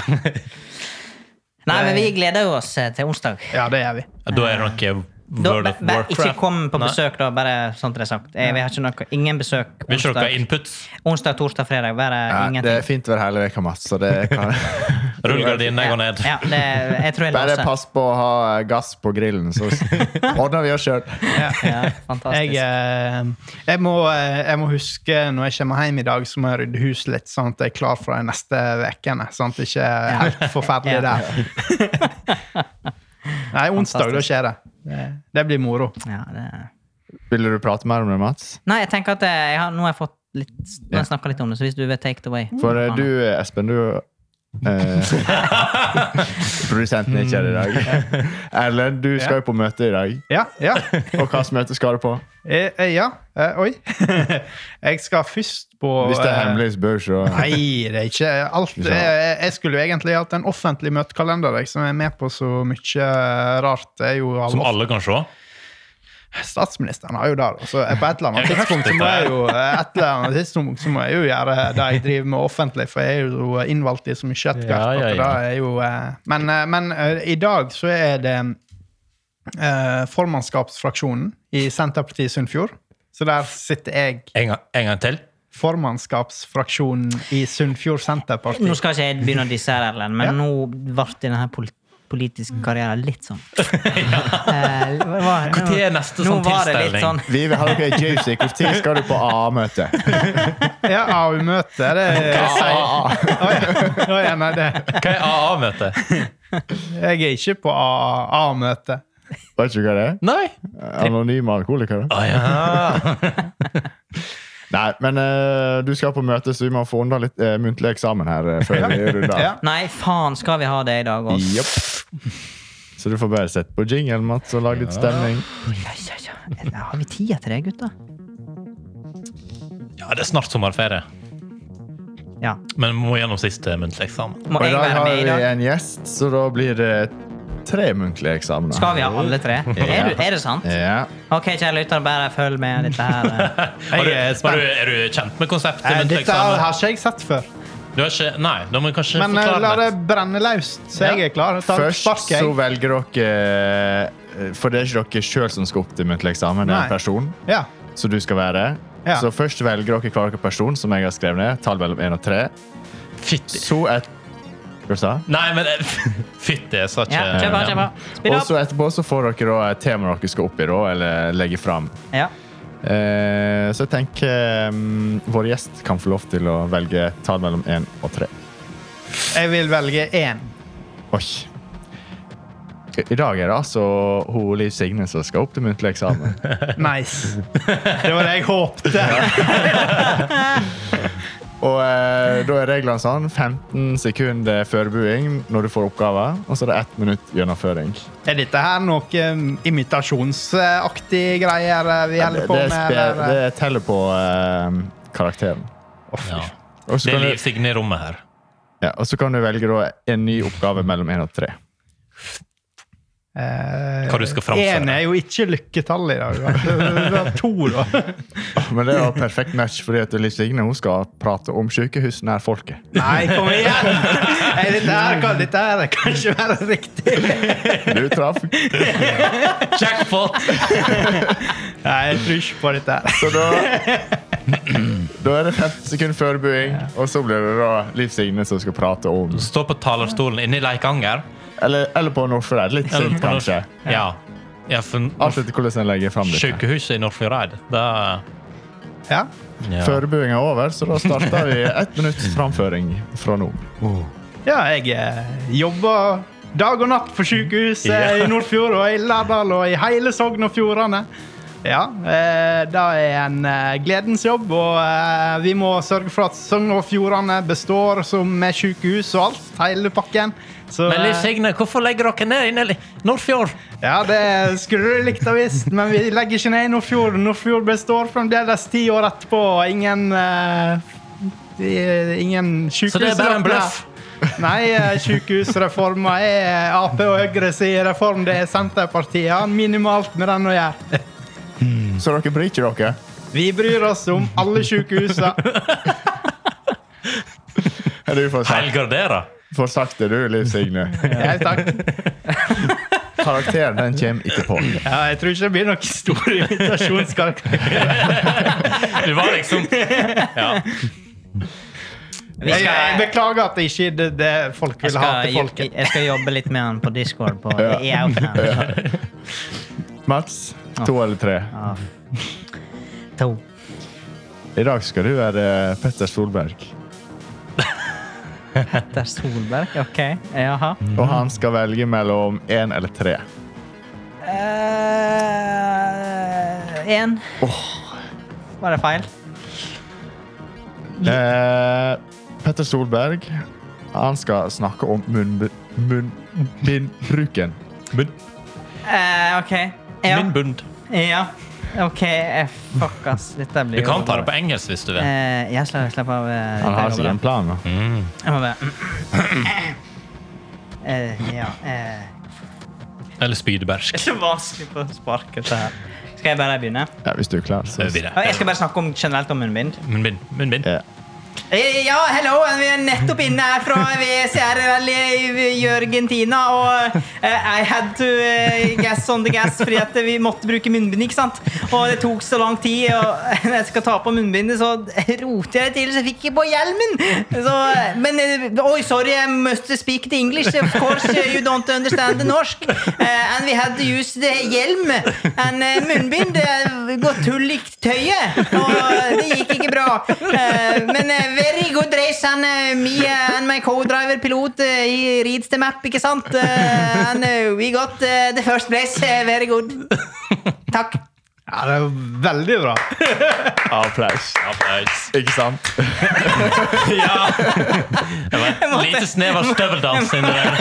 Nei, men vi gleder jo oss eh, til onsdag.
Ja, det gjør vi.
Da er det noe
Da,
World of
bare- bare ikke
Warcraft.
kom på
Nei.
besøk, da, bare sånn det er sagt. Eh, Vi har ikke noe, ingen besøk
Vil ikke dere ha
onsdag,
inputs?
onsdag torsdag, fredag. Bare
Ja, det er
ingenting.
fint å være hele veka, Mats. Så det kan...
Rullegardinene går ned.
Ja, det, jeg tror jeg
Bare
låser.
pass på å ha eh, gass på grillen, så ordner vi oss sjøl.
Ja, fantastisk.
Jeg, eh, jeg, må, eh, jeg må huske når jeg kommer hjem i dag, så må jeg rydde huset litt, sånn at jeg er klar for de neste ukene. Sånn at det ikke er helt forferdelig
Ja.
der. Nei, onsdag, da
Fantastisk.
skjer det. det. Det blir moro.
ja, det...
Ville du prate mer om det, Mats?
Nei, jeg tenker at eh, jeg har, nå har jeg fått litt, nå har
Ja.
jeg snakket litt om det, så hvis du vil take it away
For eh, du, eh, Espen, du eh, Produsenten er ikke her i dag. Erlend, du skal jo på møte i dag.
Ja, ja.
Og hvilket møte skal du på?
Eh, eh, ja. Eh, oi. jeg skal først på
Hvis det er
eh,
hemmelig, spør så
Nei, det er ikke alt.
Ikke sant?
Jeg, jeg skulle jo egentlig hatt en offentlig møtekalender. Jeg, som er med på så mye eh, rart. Det er jo all-
Som alle kan se.
Statsministeren har jo det. da. Så jeg- på et eller annet
Jeg har hørt
tidspunkt så må
dette.
jeg jo, eh, et eller annet tidspunkt så må jeg jo gjøre det jeg driver med offentlig, for jeg er jo innvalgt i så mye
Ja,
etter hvert.
ja,
at
ja.
det er jo, eh, Men, eh, men eh, i dag så er det eh, formannskapsfraksjonen i Senterpartiet i Sunnfjord. Så der sitter jeg
En gang, en gang til.
formannskapsfraksjonen i Sunnfjord Senterparti.
Nå skal ikke jeg begynne å disse her, Erlend, men
Ja.
nå ble denne her pol- politiske karrieren litt sånn. Eh, hva var det?
Når er neste
Nå
sånn
var det litt
tilstelning?
sånn-
Vi vil ha dere juicy. Når skal du på AA-møte?
Ja, AU-møte, det er
AA.
Oi, oi, nei, det.
Hva er AA-møte?
Jeg er ikke på AA-møte.
Vet du hva det er?
Nei!
Anonyme alkoholikere?
Å
Ah.
ja.
Nei, men eh, du skal på møte, så vi må få unna litt eh, muntlig eksamen her eh, før vi runder av.
Ja.
Nei, faen skal vi ha det i dag også?
Jopp. Så du får bare sette på jingle, Mats, og lage litt stemning.
Ja, ja, ja. Eh, Har vi tida til det, gutter?
ja, det er snart sommerferie.
Ja.
Men vi må gjennom siste muntlig eksamen.
Må
Og i
jeg
dag
være
har
med i
vi eh,
dag?
en gjest, så da blir det tre muntlige eksamener.
Skal vi ha alle tre? Er, du, er det sant?
Ja.
Ok, kjære lyttere, bare følg med dette her. eh.
Har du,
Jeg er
har du, er du kjent med konseptet
Eh,
muntlig
Dette har
eksamen?
har ikke jeg sett før.
Du har ikke, nei, da må vi kanskje
Men eh, la
forklare
det
litt.
brenne løst, så jeg er klar. Ta
Først
spark,
så
jeg.
velger dere eh, For det er ikke dere sjøl som skal opp til muntlig eksamen, det er
Nei.
en person.
Ja.
Så du skal være
Ja.
Så først velger dere hver dere person, som jeg har skrevet ned. Tall mellom én og tre.
Fytti.
Så et Hva sa du?
Nei, men eh, Fytti, jeg sa ikke
Ja, kjør på, kjør på. Speed
Og
up!
så etterpå så får dere da et tema dere skal opp i, da, eller legge fram.
Ja.
Eh, så jeg tenker mm, vår gjest kan få lov til å velge tall mellom én og tre.
Jeg vil velge én.
Oi. I dag er det altså hun Liv Signe som skal opp til muntlig eksamen.
Nice. Det var det jeg håpte.
Og eh, da er reglene sånn 15 sekunder forbereding når du får oppgaven, og så er det ett minutt gjennomføring.
Er dette her noe mm, imitasjonsaktig greier eh, vi
Det,
holder på
det,
med?
spe-
Eller?
det teller på eh, karakteren.
Å, fy.
Ja.
Og så
Det er
kan,
Liv
du,
Signe i rommet her.
ja, og så kan du velge da, en ny oppgave mellom én og tre.
Eh,
Hva du skal framføre.
Én er jo ikke lykketall i dag. da. Det var to, da.
Men det er jo en perfekt match, fordi at Liv Signe hun skal prate om sykehus nær folket.
Nei, kom igjen! Nei, dette, her kan, dette her kan ikke være riktig.
Du traff.
Jackpot!
Nei, jeg tror ikke på dette her.
Så da Da er det 15 sekunder forbereding, og så blir det da Liv Signe som skal prate om
Stå på talerstolen inne i Leikanger.
Eller, eller på Nordfjordeid. Litt
Eller
sent,
på norsk-
Sånn, kanskje.
Ja. ja for
Alt etter hvordan en legger fram dette.
sykehuset i Nordfjordeid, det
Ja.
ja.
Forberedingen er over, så da starter vi ett minutts framføring fra nå.
ja, jeg eh, jobber dag og natt på sykehuset
Ja.
i Nordfjord og i Lærdal og i hele Sogn og Fjordane. Ja, eh, det er en eh, gledens jobb, og eh, vi må sørge for at Sogn og Fjordane består som med sykehus og alt. Hele pakken. Så,
Men Liv
eh,
Signe, hvorfor legger dere ned inne i Nordfjord?
Ja, det skulle du likt ha visst, men vi legger ikke ned i Nordfjord. Nordfjord består fremdeles ti år etterpå. og Ingen eh, de- Ingen sykehus
Så det er bare en bløff?
Nei, eh, sykehusreformen er Ap og Høyre sin reform. Det er Senterpartiet. Har minimalt med den å gjøre.
Mm.
Så dere bryr ikke dere?
Vi bryr oss om alle sykehusene.
Ja, Du får sagt,
Helgardera?
får sagt det, du, Liv Signe.
Ja, takk.
Karakteren den kommer etterpå.
Ja, jeg tror ikke det blir noen stor invitasjonskarakter.
Du var liksom Ja.
Vi
Jeg, jeg
skal,
beklager at det ikke er det, det folk
jeg,
vil ha
skal,
til folket.
jo- jeg skal jobbe litt med han på Discord. På, E
Ja.
i outland.
Mats, to eller tre?
Ja. To.
I dag skal du være eh, Petter Solberg.
Petter Solberg, OK. Jaha.
Og han skal velge mellom én eller tre.
Én. Eh, Var det feil?
Eh, Petter Solberg han skal snakke om munnb- munnbindbruken.
Bund.
Eh, OK. Ja.
Min bund.
ja. OK. eh, Fuck, ass. Dette blir
Du kan ta det på engelsk hvis du vil.
Eh, jeg slipper, slipper av. eh,
Han har
dette går
sikkert
bra.
en plan. nå.
Mm.
Jeg må bare Eh, Ja. eh,
Eller spydbersk.
Det er så vanskelig på sparket. dette her. Skal jeg bare begynne?
Ja, hvis du er klar. så-
Det blir det.
Ja, Jeg skal bare snakke om generelt om munnbind.
Munnbind. Munnbind.
Ja.
Eh, Ja, hello! Vi er nettopp inne her fra Sierra Leone i Argentina. Og eh, I had to eh, gas on the gas fordi at vi måtte bruke munnbind. ikke sant? Og det tok så lang tid. Og når jeg skal ta på munnbindet, så roter jeg det til, så jeg fikk ikke på hjelmen. Så, men eh, oi, sorry, I must speak the English. Of course, eh, you don't understand the norsk. Eh, and we had to use the hjelm and eh, munnbind. Uh, got hull i tøyet. Og det gikk ikke bra. Eh, men eh, very good race and eh, me and my co-driver pilot eh, he reads the map, ikke sant? Eh, and eh, we got eh, the first place. Eh, very good. Takk.
Ja, det er jo veldig bra.
Applaus.
Applaus.
Ikke sant?
Ja! Det var et lite snev av støveldans inni der.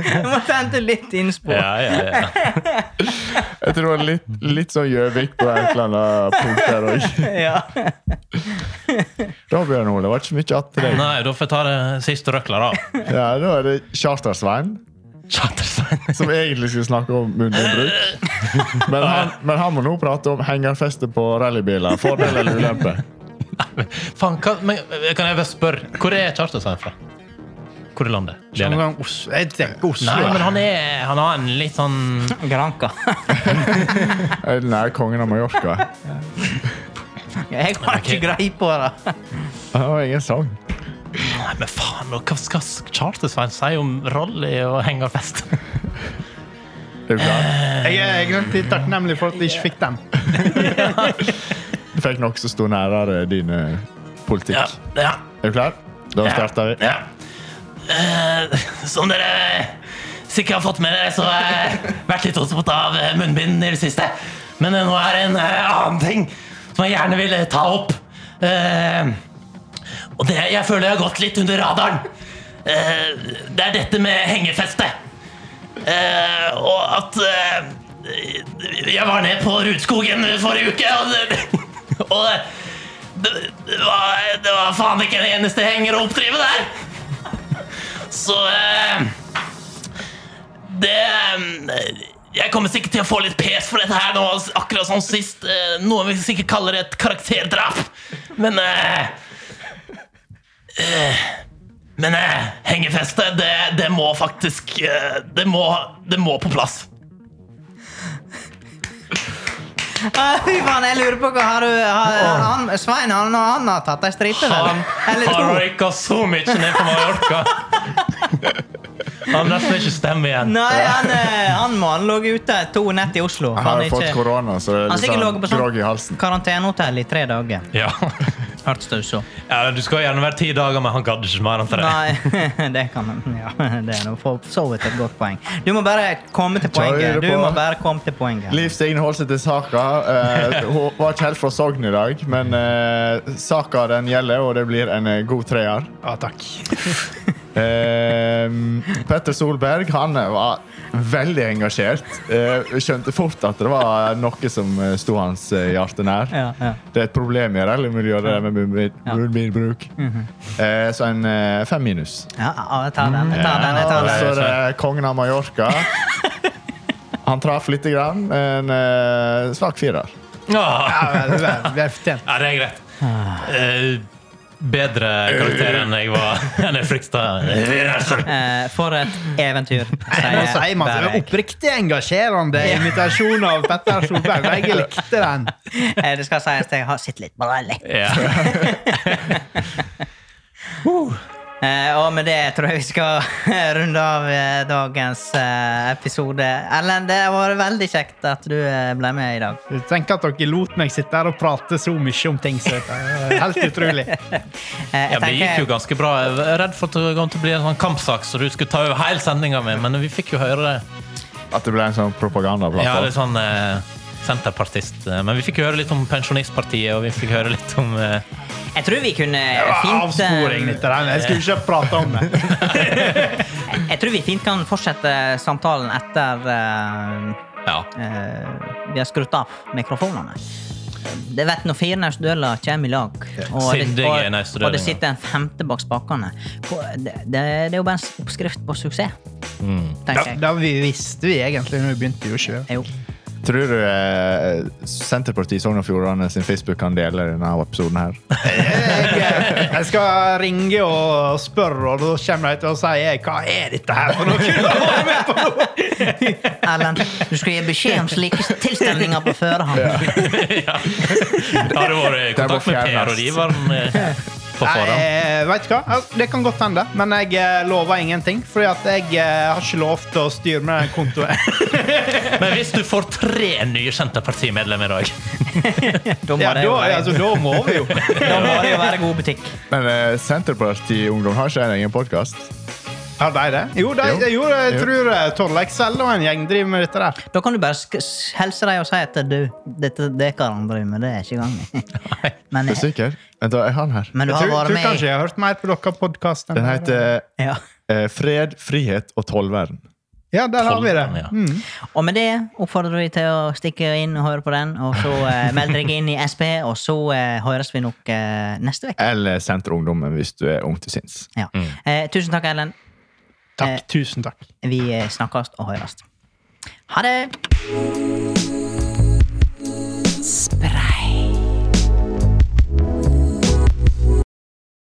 Jeg måtte hente litt innspo.
Ja, ja, ja.
Jeg tror det var litt, litt sånn Gjøvik på et eller annet punkt der òg.
Ja.
Da, Bjørn Ole, var det ikke mye igjen til deg.
Nei, da får jeg ta det siste røkla, da.
Ja, da er det Charter-Svein.
Chatterstein.
som egentlig skulle snakke om munnbindbruk. Men han, men han må nå prate om hengerfeste på rallybiler. Fordel eller ulempe?
Faen, hva, men, kan jeg bare spørre Hvor er Charterstein fra? Hvor er landet?
Han
Lene?
er en Os- Jeg tenker Oslo.
Nei,
ja.
men han, er, han har en litt sånn
Granka.
Eh, Nei, kongen av Mallorca.
Jeg har ikke greie på det.
Han har ingen sang.
Nei, men faen, nå, hva skal Charterstein si om rally og hengerfest?
Er du klar?
Jeg er egentlig takknemlig for at jeg ikke fikk den.
Du fikk noe som sto nærere din eh,
Ja,
politikk.
ja.
Er du klar? Da starter vi.
Ja. Eh, som dere sikkert har fått med dere, så har jeg vært litt opptatt av eh, munnbind i det siste. Men eh, nå er det en eh, annen ting som jeg gjerne vil eh, ta opp. Eh, og det jeg føler jeg har gått litt under radaren. Eh, det er dette med hengefeste. Eh, og at eh, Jeg var ned på Rudskogen forrige uke, og, det- og eh, det- det, det, var, det var faen ikke en eneste henger å oppdrive der. Så eh, Det eh, Jeg kommer sikkert til å få litt pes for dette her nå, altså, akkurat som sist. Eh, noe vi sikkert kaller et karakterdrap. Men eh, eh, Men eh, hengefeste, det, det må faktisk eh, det, må, det må på plass.
Ah, Fy faen, jeg lurer på hva har du har, han, Svein, han, han har tatt ei stripe, vel? Eller to?
røyka så mye ned på Mallorca. Han nesten ikke stemmer igjen.
Nei, han, eh, han må han lå ute to nett i Oslo.
Han har
er
jo fått
ikke-
korona, så det er
Han har sikkert
litt
ligget på
sånn drag i
sånn
halsen.
karantenehotell i tre dager.
Ja.
Hardt stausa.
ja, Du skal gjerne være ti dager, men han gadd ikke mer enn tre.
Nei, det kan han. Ja, det er nå for så vidt et godt poeng. Du må bare komme til
Kjører
poenget. Du
på.
må bare komme til poenget.
Liv Signe holdt seg til saka. Eh, hun var ikke helt fra Sogn i dag, men eh, saka den gjelder, og det blir en eh, god treer.
Ja, takk.
Ehm, Petter Solberg han var veldig engasjert. Eh, skjønte fort at det var noe som eh, sto hans eh, hjerte nær.
Ja, ja.
Det er et problem i rallymiljøet det der med munnbind-
Ja. Mhm.
munnbindbruk. Eh, så en eh, fem minus.
Ja, ja, jeg tar den. Jeg tar den. jeg tar
Og
Ja,
den.
så
det er
er det kongen av Mallorca. Han traff lite grann. En eh, svak firer.
Ja,
Ja, det er- det er fortjent.
ja, det er greit. Eh, bedre karakter enn jeg var enn jeg frykta.
Eh, For et eventyr,
altså, Jeg må si,
sier
Mats, det
bare
var
jeg.
oppriktig engasjerende invitasjon av Petter Solberg. og Jeg likte den.
Eh, Det skal sies at jeg har sett litt på rally.
Ja.
Eh, og med det tror jeg vi skal runde av eh, dagens eh, episode. Ellen, det var veldig kjekt at du eh, ble med i dag.
Jeg tenker at dere lot meg sitte her og prate så mye om ting. Så det er helt utrolig.
Eh, jeg
Ja, Det
tenker-
gikk jo ganske bra. Jeg var redd for at det kom til å bli en sånn kampsak, så du skulle ta over hele sendinga mi, men vi fikk jo høre det.
At det ble en sånn propagandaplattform.
Ja, litt sånn eh, senterpartist. eh, Men vi fikk jo høre litt om Pensjonistpartiet, og vi fikk høre litt om eh,
Jeg tror vi kunne fint
Avsporing,
eh,
dette der. men Jeg skulle ikke prate om det.
eh, Jeg tror vi fint kan fortsette samtalen etter
Ja.
eh, eh, vi har skrudd av mikrofonene. Det vet når fire naustdøler kommer i lag, og
Siden
det,
jeg er
og,
naustdøling,
og det
ja.
sitter en femte bak spakene Hvor- det, det, det er jo bare en s- oppskrift på suksess, tenker
Mm.
Da,
jeg.
da vi visste vi egentlig når vi begynte jo ikke.
Jo.
Tror du eh, Senterpartiet i Sogn og Fjordane sin Facebook kan dele denne episoden her?
Jeg, jeg skal ringe og spørre, og da kommer de til å si jeg, hva er dette her for noe?
Erlend, du skal gi beskjed om slike tilstelninger på førehånd.
Har du vært i
Det må
kontakt med
fjernes.
PR-rådgiveren eh, på forhånd?
Nei, vet du hva? Altså, Det kan godt hende, men jeg eh, lover ingenting. Fordi at jeg eh, har ikke lov til å styre med den kontoen.
Men hvis du får tre nye Senterparti-medlemmer i dag
Da må
Ja,
det
da,
jo være,
altså, da må vi jo.
da må det jo være god butikk.
Men eh, Senterpartiet Ungdom har ikke en egen podkast.
Har de det? Jo, de,
Jo.
jo, jeg
Jo.
tror eh, Torle Excel og en gjeng driver med dette der.
Da kan du bare sk s- helse deg og si at du, dette det kan han drive med, det er ikke i gang med. Men,
Er du sikker? Vent, da, jeg har den her.
men du
Jeg
har
tror,
vært
tror
med
kanskje
i
jeg har hørt mer på deres podkast.
Den heter
ja.
eh, Fred, frihet og tollvern.
Ja, der har vi det.
Tolv, ja.
Mm.
Og med det oppfordrer vi til å stikke inn og høre på den, og så eh, melder jeg inn i SP, og så eh, høres vi nok eh, neste uke.
Eller Senterungdommen, hvis du er ung til sinns.
Ja.
Mm.
Eh, tusen takk, eh, Ellen.
Takk. Tusen takk.
Vi eh, snakkes og høres. Ha det!